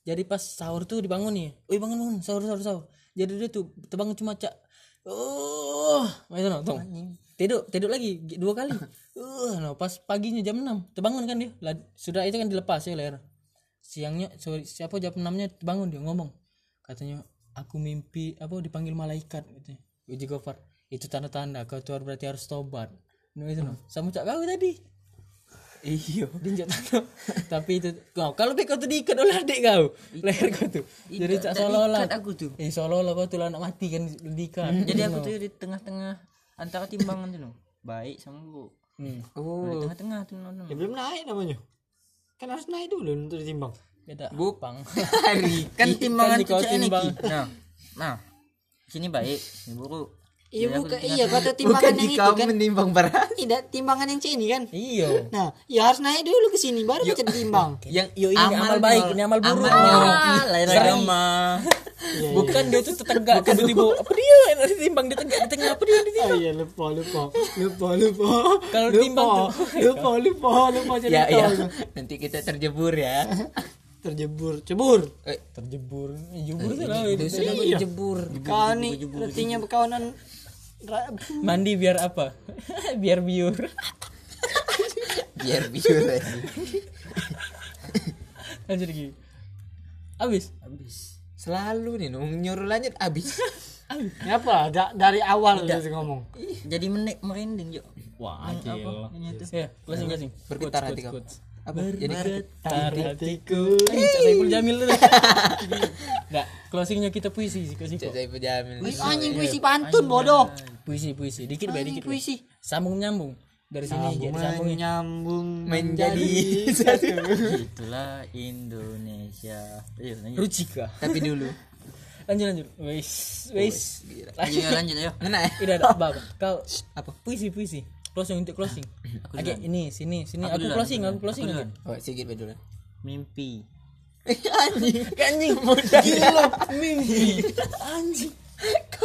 [SPEAKER 1] jadi pas sahur tuh dibangun nih oi bangun bangun sahur sahur sahur jadi dia tuh terbangun cuma cak oh itu no tong tidur tidur lagi gi- dua kali uh no pas paginya jam 6 terbangun kan dia Lah, sudah itu kan dilepas ya leher siangnya sorry, siapa jam enamnya bangun dia ngomong katanya aku mimpi apa dipanggil malaikat gitu uji gofar itu tanda-tanda kau tuh berarti harus tobat no itu no sama cak kau tadi iyo dinjak tanah tapi itu kau kalau baik kau tuh diikat oleh adik kau leher kau tuh jadi cak seolah-olah
[SPEAKER 6] aku tuh.
[SPEAKER 1] eh seolah-olah kau tuh lah anak mati kan diikat
[SPEAKER 6] Jadi aku tuh di tengah-tengah antara timbangan tuh. no. Baik sama bu.
[SPEAKER 1] Hmm.
[SPEAKER 6] Oh. Di tengah-tengah tuh. no, no.
[SPEAKER 2] belum naik namanya kan harus naik dulu untuk ditimbang
[SPEAKER 1] beda
[SPEAKER 3] bupang hari
[SPEAKER 6] kan timbangan
[SPEAKER 1] kau
[SPEAKER 6] tuh cak ini
[SPEAKER 1] timbang.
[SPEAKER 6] Ki. nah nah sini baik sini buruk
[SPEAKER 4] Iya bukan, iya kata
[SPEAKER 3] Bukan
[SPEAKER 4] timbangan yang itu
[SPEAKER 3] jika
[SPEAKER 4] kan.
[SPEAKER 3] menimbang beras.
[SPEAKER 4] Tidak timbangan yang C ini kan.
[SPEAKER 1] Iyo.
[SPEAKER 4] Nah, ya harus naik dulu ke sini baru bisa ditimbang.
[SPEAKER 1] Yang yo ini amal, baik, ini amal Iya, buruk.
[SPEAKER 3] Amal lain
[SPEAKER 1] Sama. iya. Bukan dia tuh tegak tiba-tiba apa dia yang ditimbang dia tegak di tengah apa dia yang ditimbang.
[SPEAKER 4] Oh iya lupa lupa lupa lupa.
[SPEAKER 1] Kalau ditimbang tuh
[SPEAKER 4] lupa lupa lupa jadi
[SPEAKER 3] Ya
[SPEAKER 4] tahu.
[SPEAKER 3] ya. Nanti kita terjebur ya.
[SPEAKER 4] terjebur cebur.
[SPEAKER 1] terjebur. Jebur tuh lah itu.
[SPEAKER 3] Jebur.
[SPEAKER 4] Kau nih artinya berkawanan ra-
[SPEAKER 1] Mandi biar apa? biar biur.
[SPEAKER 3] Biar biur aja.
[SPEAKER 1] Lanjut lagi. Habis.
[SPEAKER 3] Habis. Selalu nih nung- nyuruh lanjut habis.
[SPEAKER 4] Kenapa? Da- dari awal udah ngomong.
[SPEAKER 6] jadi menek merinding yuk
[SPEAKER 1] Wah, anjir. Ya, closing closing.
[SPEAKER 3] Bergetar hati kamu. Apa? Jadi
[SPEAKER 1] Tarik hatiku. Eh, Cak Saiful Jamil tuh. Enggak, closingnya kita puisi sih, puisi.
[SPEAKER 3] Cak Saiful Jamil.
[SPEAKER 4] Wih, oh, anjing puisi pantun bodoh.
[SPEAKER 1] Puisi, puisi. Dikit baik dikit. Bay.
[SPEAKER 4] Puisi.
[SPEAKER 1] Sambung nyambung. Dari sini jadi sambung.
[SPEAKER 4] Menyambung
[SPEAKER 3] Menjadi
[SPEAKER 6] itulah Indonesia ayo lanjut
[SPEAKER 1] Rucika.
[SPEAKER 3] tapi dulu.
[SPEAKER 1] Lanjut lanjut. Wis, wis.
[SPEAKER 6] ayo ayo, lanjut ayo
[SPEAKER 3] Ngena ya?
[SPEAKER 1] Tidak ada apa-apa. Kau
[SPEAKER 3] Apa?
[SPEAKER 1] puisi, puisi. Closing untuk closing.
[SPEAKER 6] Aku
[SPEAKER 1] Oke, ini sini sini aku closing, aku closing.
[SPEAKER 6] Aku
[SPEAKER 1] aja.
[SPEAKER 6] duluan.
[SPEAKER 3] Oh, Sigit baik dulu.
[SPEAKER 6] mimpi
[SPEAKER 3] Anjing.
[SPEAKER 1] Anjing, gila, mimpi. Anjing.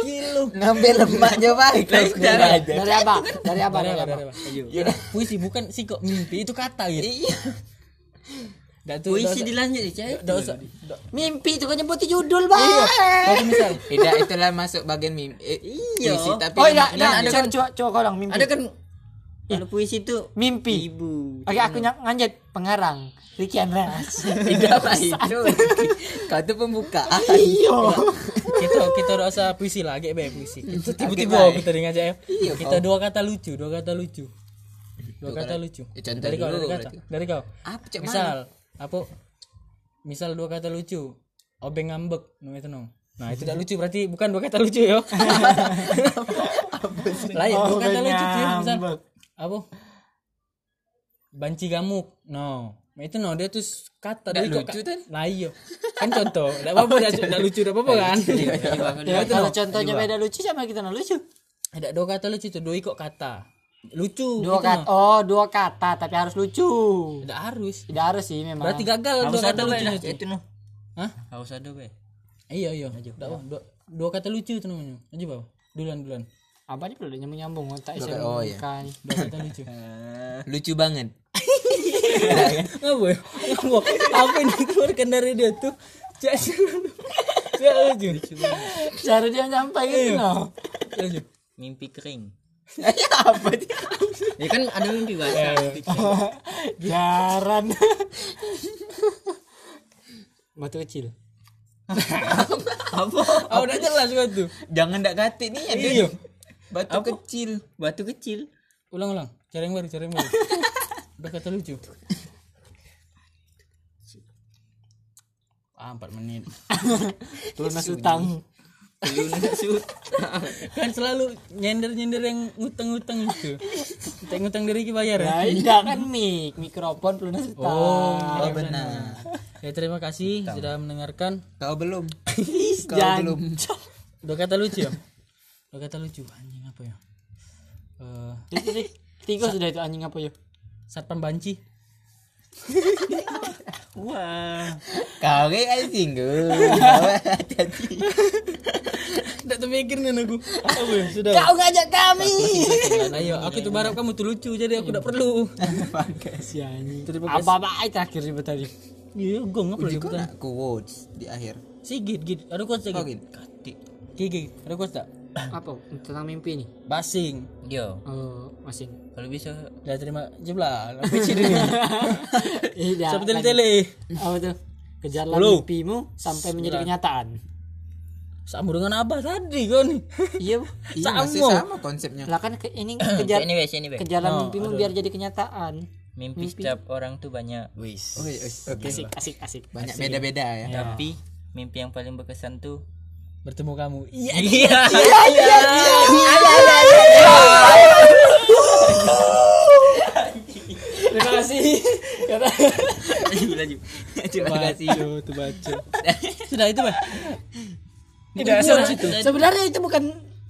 [SPEAKER 1] Gila.
[SPEAKER 3] Ngambil lemaknya baik. Langsung aja.
[SPEAKER 4] Dari apa? Dari apa? Dari apa?
[SPEAKER 1] Apa-apa. Puisi bukan sih kok mimpi itu kata gitu.
[SPEAKER 3] Iya.
[SPEAKER 1] Enggak tuh.
[SPEAKER 6] puisi dilanjut ya cai
[SPEAKER 1] Enggak usah. nggak-
[SPEAKER 4] Mimpi itu kan nyebutin judul, Bang.
[SPEAKER 1] Kalau misal
[SPEAKER 3] Tidak itulah masuk bagian mimpi. Eh, iya. Puisi, tapi
[SPEAKER 4] Oh iya,
[SPEAKER 3] dan
[SPEAKER 4] iya,
[SPEAKER 3] ada
[SPEAKER 4] coba coba coba kau dong mimpi.
[SPEAKER 6] ada kan kalau puisi itu
[SPEAKER 4] mimpi.
[SPEAKER 6] ibu
[SPEAKER 4] Oke, aku ny- nganjat pengarang Ricky Andreas.
[SPEAKER 3] tidak lah itu. Kau tuh pembuka.
[SPEAKER 4] Iya.
[SPEAKER 1] kita kita enggak usah puisi lagi be puisi. Kita
[SPEAKER 3] Agak
[SPEAKER 1] tiba-tiba
[SPEAKER 3] baik.
[SPEAKER 1] kita dengar aja ya.
[SPEAKER 3] Iya,
[SPEAKER 1] Kita
[SPEAKER 3] kau.
[SPEAKER 1] dua kata lucu, dua kata lucu. Dua kata lucu.
[SPEAKER 3] Ya, contoh
[SPEAKER 1] Dari kau,
[SPEAKER 3] dulu
[SPEAKER 1] dari kau.
[SPEAKER 3] berarti.
[SPEAKER 1] Dari kau.
[SPEAKER 3] Apa cak mana?
[SPEAKER 1] Misal apa misal dua kata lucu. Obeng ngambek, nung itu nung. Nah, itu tidak lucu berarti bukan dua kata lucu yo. Lain dua kata lucu tuh, misal apa? Banci gamuk. No. Nah, Itu no dia tuh kata
[SPEAKER 3] Nggak
[SPEAKER 1] dari kok-
[SPEAKER 3] lucu, Tan.
[SPEAKER 1] Lah iya. Kan contoh. Enggak apa-apa nggak- nggak lucu enggak apa-apa kan.
[SPEAKER 4] Ya, kalau contohnya beda lucu sama kita nah lucu.
[SPEAKER 1] Ada dua kata lucu tuh, dua ikut kata. Lucu. gitu,
[SPEAKER 4] Dua kata.
[SPEAKER 1] no.
[SPEAKER 4] Oh, dua kata tapi harus lucu.
[SPEAKER 1] Nggak harus.
[SPEAKER 4] Tidak harus sih memang.
[SPEAKER 1] Berarti gagal dua kata lucu
[SPEAKER 6] itu noh
[SPEAKER 1] Hah?
[SPEAKER 6] harus ada be
[SPEAKER 1] Iya iya. Nggak, Bang. dua, dua kata lucu tuh namanya. Aja bawa. Dulan dulan.
[SPEAKER 4] apa nih perlu nyambung nyambung tak
[SPEAKER 3] Dua
[SPEAKER 4] bisa
[SPEAKER 3] kata- oh, iya.
[SPEAKER 4] bukan.
[SPEAKER 1] Dua kata lucu.
[SPEAKER 3] Lucu banget.
[SPEAKER 1] Ngapa ya? Ngapa? Apa yang dikeluarkan dari dia tuh? Cak seru. Cak lucu.
[SPEAKER 4] Cara dia nyampai gitu no.
[SPEAKER 1] Cak lucu.
[SPEAKER 6] mimpi kering
[SPEAKER 3] Ya apa sih?
[SPEAKER 6] ya kan ada mimpi basah mimpi kering.
[SPEAKER 4] Jaran. Batu kecil.
[SPEAKER 1] Ah, udah jelas gua tuh.
[SPEAKER 3] Jangan dak katik nih ya.
[SPEAKER 1] Iya.
[SPEAKER 3] Batu kecil.
[SPEAKER 6] batu kecil
[SPEAKER 1] Ulang ulang. Cara yang baru, cara yang baru. Udah kata lucu. Ah, 4 menit.
[SPEAKER 4] Lunas utang.
[SPEAKER 1] Kan selalu nyender-nyender yang ngutang-ngutang itu. Kita ngutang diri kita bayar ya.
[SPEAKER 4] Nah, iya kan mic, mikrofon pelunas utang.
[SPEAKER 3] Oh benar.
[SPEAKER 1] Ya terima kasih sudah mendengarkan.
[SPEAKER 3] Kau belum. Kau belum.
[SPEAKER 4] Jancok.
[SPEAKER 1] Dua kata lucu ya. Dua kata lucu anjing apa ya? Eh,
[SPEAKER 4] Itu sih. Tiga sudah itu anjing apa ya?
[SPEAKER 1] Satpam banci.
[SPEAKER 6] wah
[SPEAKER 3] Kau kayak ada singgung. Kau hati-hati.
[SPEAKER 1] Tidak terpikir nih aku. Apa ya? Sudah.
[SPEAKER 4] Kau ngajak kami.
[SPEAKER 1] Nah, Ayo, aku tuh berharap kamu tuh lucu jadi aku tidak perlu.
[SPEAKER 4] si ya, anjing. Apa apa ay, terakhir ribet tadi.
[SPEAKER 1] Iya, gong apa lagi
[SPEAKER 3] Kau
[SPEAKER 1] bukan?
[SPEAKER 3] nak quotes di akhir.
[SPEAKER 1] Sigit, git. Ada ya, kuat
[SPEAKER 3] Kau
[SPEAKER 1] sigit.
[SPEAKER 3] gini.
[SPEAKER 1] Gigi, ada kuat tak?
[SPEAKER 4] Apa tentang mimpi nih?
[SPEAKER 1] Basing.
[SPEAKER 6] yo
[SPEAKER 4] Oh, masing.
[SPEAKER 6] kalau bisa
[SPEAKER 1] Dah terima jeblah. Apa sih ini?
[SPEAKER 4] Iya.
[SPEAKER 1] Sampai tele-tele.
[SPEAKER 4] Apa tuh? Kejarlah
[SPEAKER 1] Sepuluh.
[SPEAKER 4] mimpimu sampai menjadi kenyataan.
[SPEAKER 1] Sama dengan apa tadi kau nih?
[SPEAKER 4] Iya, Bu.
[SPEAKER 3] Iya masih
[SPEAKER 1] Sama.
[SPEAKER 3] sama konsepnya.
[SPEAKER 4] lah kan ke, ini kejar
[SPEAKER 6] ini wes ini wes
[SPEAKER 4] kejarlah mimpimu biar jadi kenyataan.
[SPEAKER 6] mimpi setiap orang tuh banyak wis
[SPEAKER 3] Oke, oke.
[SPEAKER 4] Asik, asik, asik.
[SPEAKER 3] Banyak beda-beda
[SPEAKER 1] Iya.
[SPEAKER 3] ya.
[SPEAKER 6] tapi mimpi yang paling berkesan tuh
[SPEAKER 1] Bertemu kamu. Iya.
[SPEAKER 6] iya
[SPEAKER 4] Terima kasih.
[SPEAKER 6] lanjut lanjut terima kasih
[SPEAKER 1] Baco, tuh baco. Sudah itu, Pak. Tidak asal situ.
[SPEAKER 4] Sebenarnya itu bukan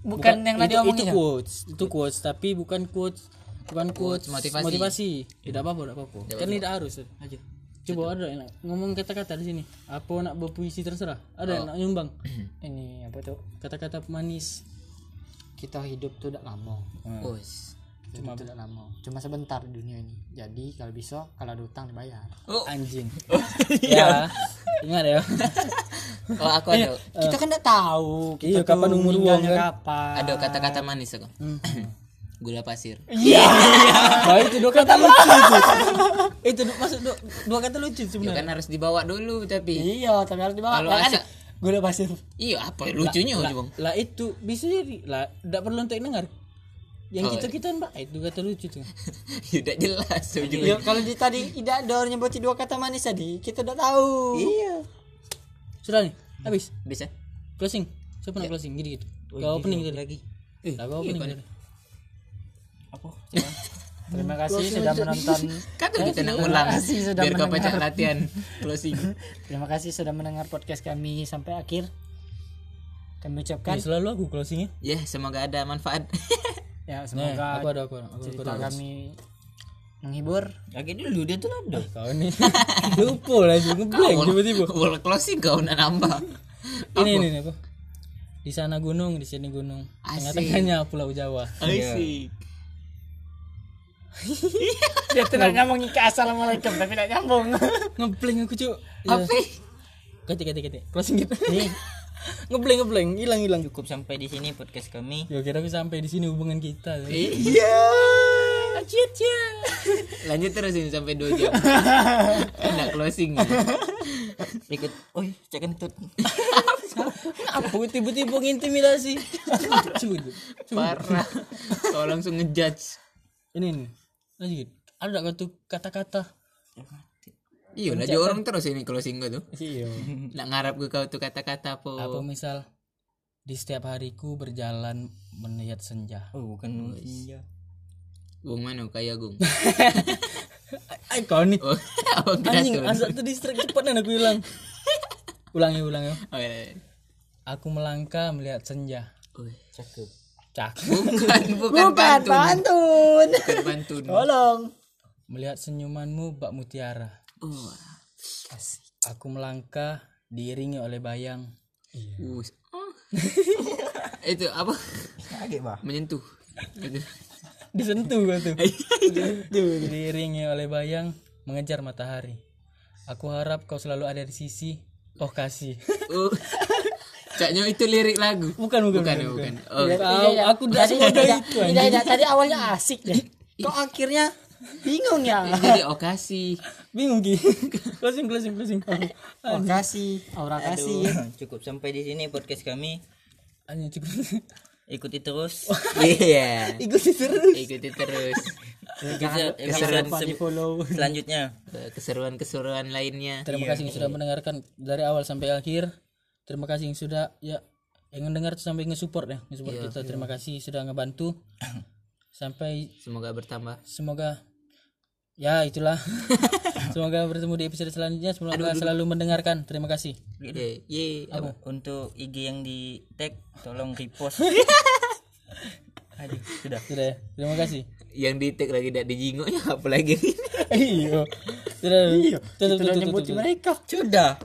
[SPEAKER 2] bukan yang tadi
[SPEAKER 1] itu,
[SPEAKER 2] omongin
[SPEAKER 1] itu
[SPEAKER 2] ya?
[SPEAKER 1] quotes itu quotes tapi bukan quotes bukan quotes
[SPEAKER 3] motivasi.
[SPEAKER 1] motivasi, tidak apa-apa tidak apa-apa kan tidak harus aja coba ada yang nak ngomong kata-kata di sini apa nak berpuisi terserah ada yang nak nyumbang
[SPEAKER 4] ini apa tuh
[SPEAKER 1] kata-kata manis
[SPEAKER 4] kita hidup tuh tidak lama
[SPEAKER 3] Us.
[SPEAKER 4] cuma tidak lama cuma sebentar di dunia ini jadi kalau bisa kalau ada utang dibayar
[SPEAKER 1] anjing ya ingat ya
[SPEAKER 3] Oh aku ada
[SPEAKER 4] kita kan tidak tahu
[SPEAKER 1] Eh. Iya,
[SPEAKER 4] kita tuh
[SPEAKER 1] kapan umur uang,
[SPEAKER 4] meninggalnya
[SPEAKER 1] kan?
[SPEAKER 4] kapan
[SPEAKER 3] ada kata-kata manis aku. Gula pasir.
[SPEAKER 1] Iya. Ya. Wah Nah, itu dua kata lucu itu. itu du- masuk du- dua kata lucu
[SPEAKER 3] Ya
[SPEAKER 1] sebenarnya.
[SPEAKER 3] kan harus dibawa dulu tapi.
[SPEAKER 4] iya tapi harus dibawa
[SPEAKER 3] Kalau
[SPEAKER 4] Ya kan
[SPEAKER 3] asa-
[SPEAKER 4] gue udah pasir
[SPEAKER 3] Iya apa lucunya
[SPEAKER 1] Lah,
[SPEAKER 3] Bang?
[SPEAKER 1] lah itu bisa jadi lah tidak perlu untuk dengar. Yang kita kita kan baik dua kata lucu tuh.
[SPEAKER 3] Ya, Tidak jelas ujung.
[SPEAKER 4] Iya, kalau di tadi tidak ada orang nyebut dua kata manis tadi kita tidak tahu
[SPEAKER 1] Iya. Sudah nih habis
[SPEAKER 3] Bisa.
[SPEAKER 1] closing. Siapa nak closing gini gitu. Kau opening tadi lagi. Iya, Lah kau opening gitu. tadi.
[SPEAKER 4] terima kasih sudah menonton
[SPEAKER 3] Kagak Kan
[SPEAKER 1] Iya,
[SPEAKER 3] kita nak ulang. Biar kau pajak latihan closing.
[SPEAKER 4] terima kasih sudah mendengar podcast kami sampai akhir kami ucapkan
[SPEAKER 1] Ya, selalu aku closingnya.
[SPEAKER 3] Ya semoga ada manfaat.
[SPEAKER 4] ya
[SPEAKER 1] Nah, aku
[SPEAKER 4] semoga
[SPEAKER 1] ada aku ada aku, aku
[SPEAKER 4] cerita
[SPEAKER 1] ada.
[SPEAKER 4] kami menghibur
[SPEAKER 6] Lagi dulu dia tuh ada.
[SPEAKER 1] Ah, Kau ini lupa lagi ngeblank tiba-tiba.
[SPEAKER 3] Wall closing kau nak nambah.
[SPEAKER 1] Ini ini ini, apa? Di sana gunung, di sini gunung.
[SPEAKER 3] Asik.
[SPEAKER 1] Tengah-tengahnya Pulau Jawa.
[SPEAKER 3] Asik.
[SPEAKER 4] dia tidak ngomong ke assalamualaikum tapi tidak nyambung
[SPEAKER 1] Ngeblank aku cuk. Ya.
[SPEAKER 3] Apa?
[SPEAKER 1] Ganti ganti ganti. Closing gitu. ngeblank ngeblank hilang hilang cukup.
[SPEAKER 6] Cukup sampai di sini podcast kami.
[SPEAKER 1] Ya kira aku sampai di sini hubungan kita.
[SPEAKER 3] Iya. Lanjut terus ini sampai 2 jam. Enak closing.
[SPEAKER 6] Ikut. Oi, cek kentut.
[SPEAKER 1] Apa tiba-tiba ngintimidasi? Cukup.
[SPEAKER 3] Parah. Kau langsung ngejudge.
[SPEAKER 1] Ini ini. Lanjut. Ada gak kau tuh kata-kata?
[SPEAKER 3] Iya lah dia orang terus ini closing gua tuh.
[SPEAKER 1] Iya.
[SPEAKER 3] Nak ngarap gue kau tuh kata-kata apa?
[SPEAKER 1] Apa misal di setiap hariku berjalan melihat senja.
[SPEAKER 6] Oh, bukan. Iya.
[SPEAKER 3] Gung mana kayak Gung?
[SPEAKER 1] Ay, kau nih.
[SPEAKER 3] Oh, Abang
[SPEAKER 1] Anjing,
[SPEAKER 3] Gratul.
[SPEAKER 1] asal tuh distrik cepat dan aku hilang. ulangi, ulangi.
[SPEAKER 3] Oh, iya, iya.
[SPEAKER 1] Aku melangkah melihat senja.
[SPEAKER 3] Oh,
[SPEAKER 1] Cak.
[SPEAKER 3] Bukan, bukan pantun.
[SPEAKER 4] pantun
[SPEAKER 3] Bukan pantun.
[SPEAKER 1] Oh.
[SPEAKER 4] tolong
[SPEAKER 1] Melihat senyumanmu bak mutiara.
[SPEAKER 3] Oh,
[SPEAKER 1] Aku melangkah diiringi oleh bayang.
[SPEAKER 3] us. Oh. Itu apa? Menyentuh. Itu.
[SPEAKER 1] disentuh gua tuh diiringi oleh bayang mengejar matahari aku harap kau selalu ada di sisi oh kasih
[SPEAKER 3] Oh. Caknya itu lirik lagu.
[SPEAKER 1] bukan bukan,
[SPEAKER 3] Bukan,
[SPEAKER 1] bukan.
[SPEAKER 3] bukan. Oh,
[SPEAKER 1] Tahu, aku udah
[SPEAKER 4] tadi
[SPEAKER 1] semudah
[SPEAKER 4] tidak,
[SPEAKER 1] itu
[SPEAKER 4] tidak, tidak, tadi awalnya asik deh kok akhirnya bingung ya
[SPEAKER 3] jadi oh, okasi.
[SPEAKER 1] bingung ki closing closing closing
[SPEAKER 4] oh kasih aura kasih
[SPEAKER 6] Cukup sampai di sini podcast kami.
[SPEAKER 1] hanya cukup
[SPEAKER 6] Ikuti terus.
[SPEAKER 3] Iya.
[SPEAKER 1] ikuti terus
[SPEAKER 3] Ikuti terus
[SPEAKER 6] Episode,
[SPEAKER 4] jangan
[SPEAKER 6] episode
[SPEAKER 4] lupa di
[SPEAKER 6] se-
[SPEAKER 4] follow
[SPEAKER 6] selanjutnya.
[SPEAKER 3] Eh, keseruan-keseruan lainnya.
[SPEAKER 1] terima kasih yang sudah mendengarkan dari awal sampai akhir terima kasih yang sudah ya yang mendengar tuh sampai nge-support ya nge-support kita terima kasih sudah ngebantu sampai
[SPEAKER 3] Semoga bertambah.
[SPEAKER 1] semoga ya itulah semoga bertemu di episode selanjutnya semoga selalu mendengarkan terima kasih
[SPEAKER 3] Ye, ye.
[SPEAKER 6] Apa? Untuk IG yang di tag tolong repost. Aduh, sudah.
[SPEAKER 1] sudah ya terima kasih
[SPEAKER 3] Yang di tag lagi tidak dijingok ya apalagi.
[SPEAKER 1] Iya. iyo sudah tutup tutup, tutup, tutup.
[SPEAKER 4] mereka
[SPEAKER 6] Sudah.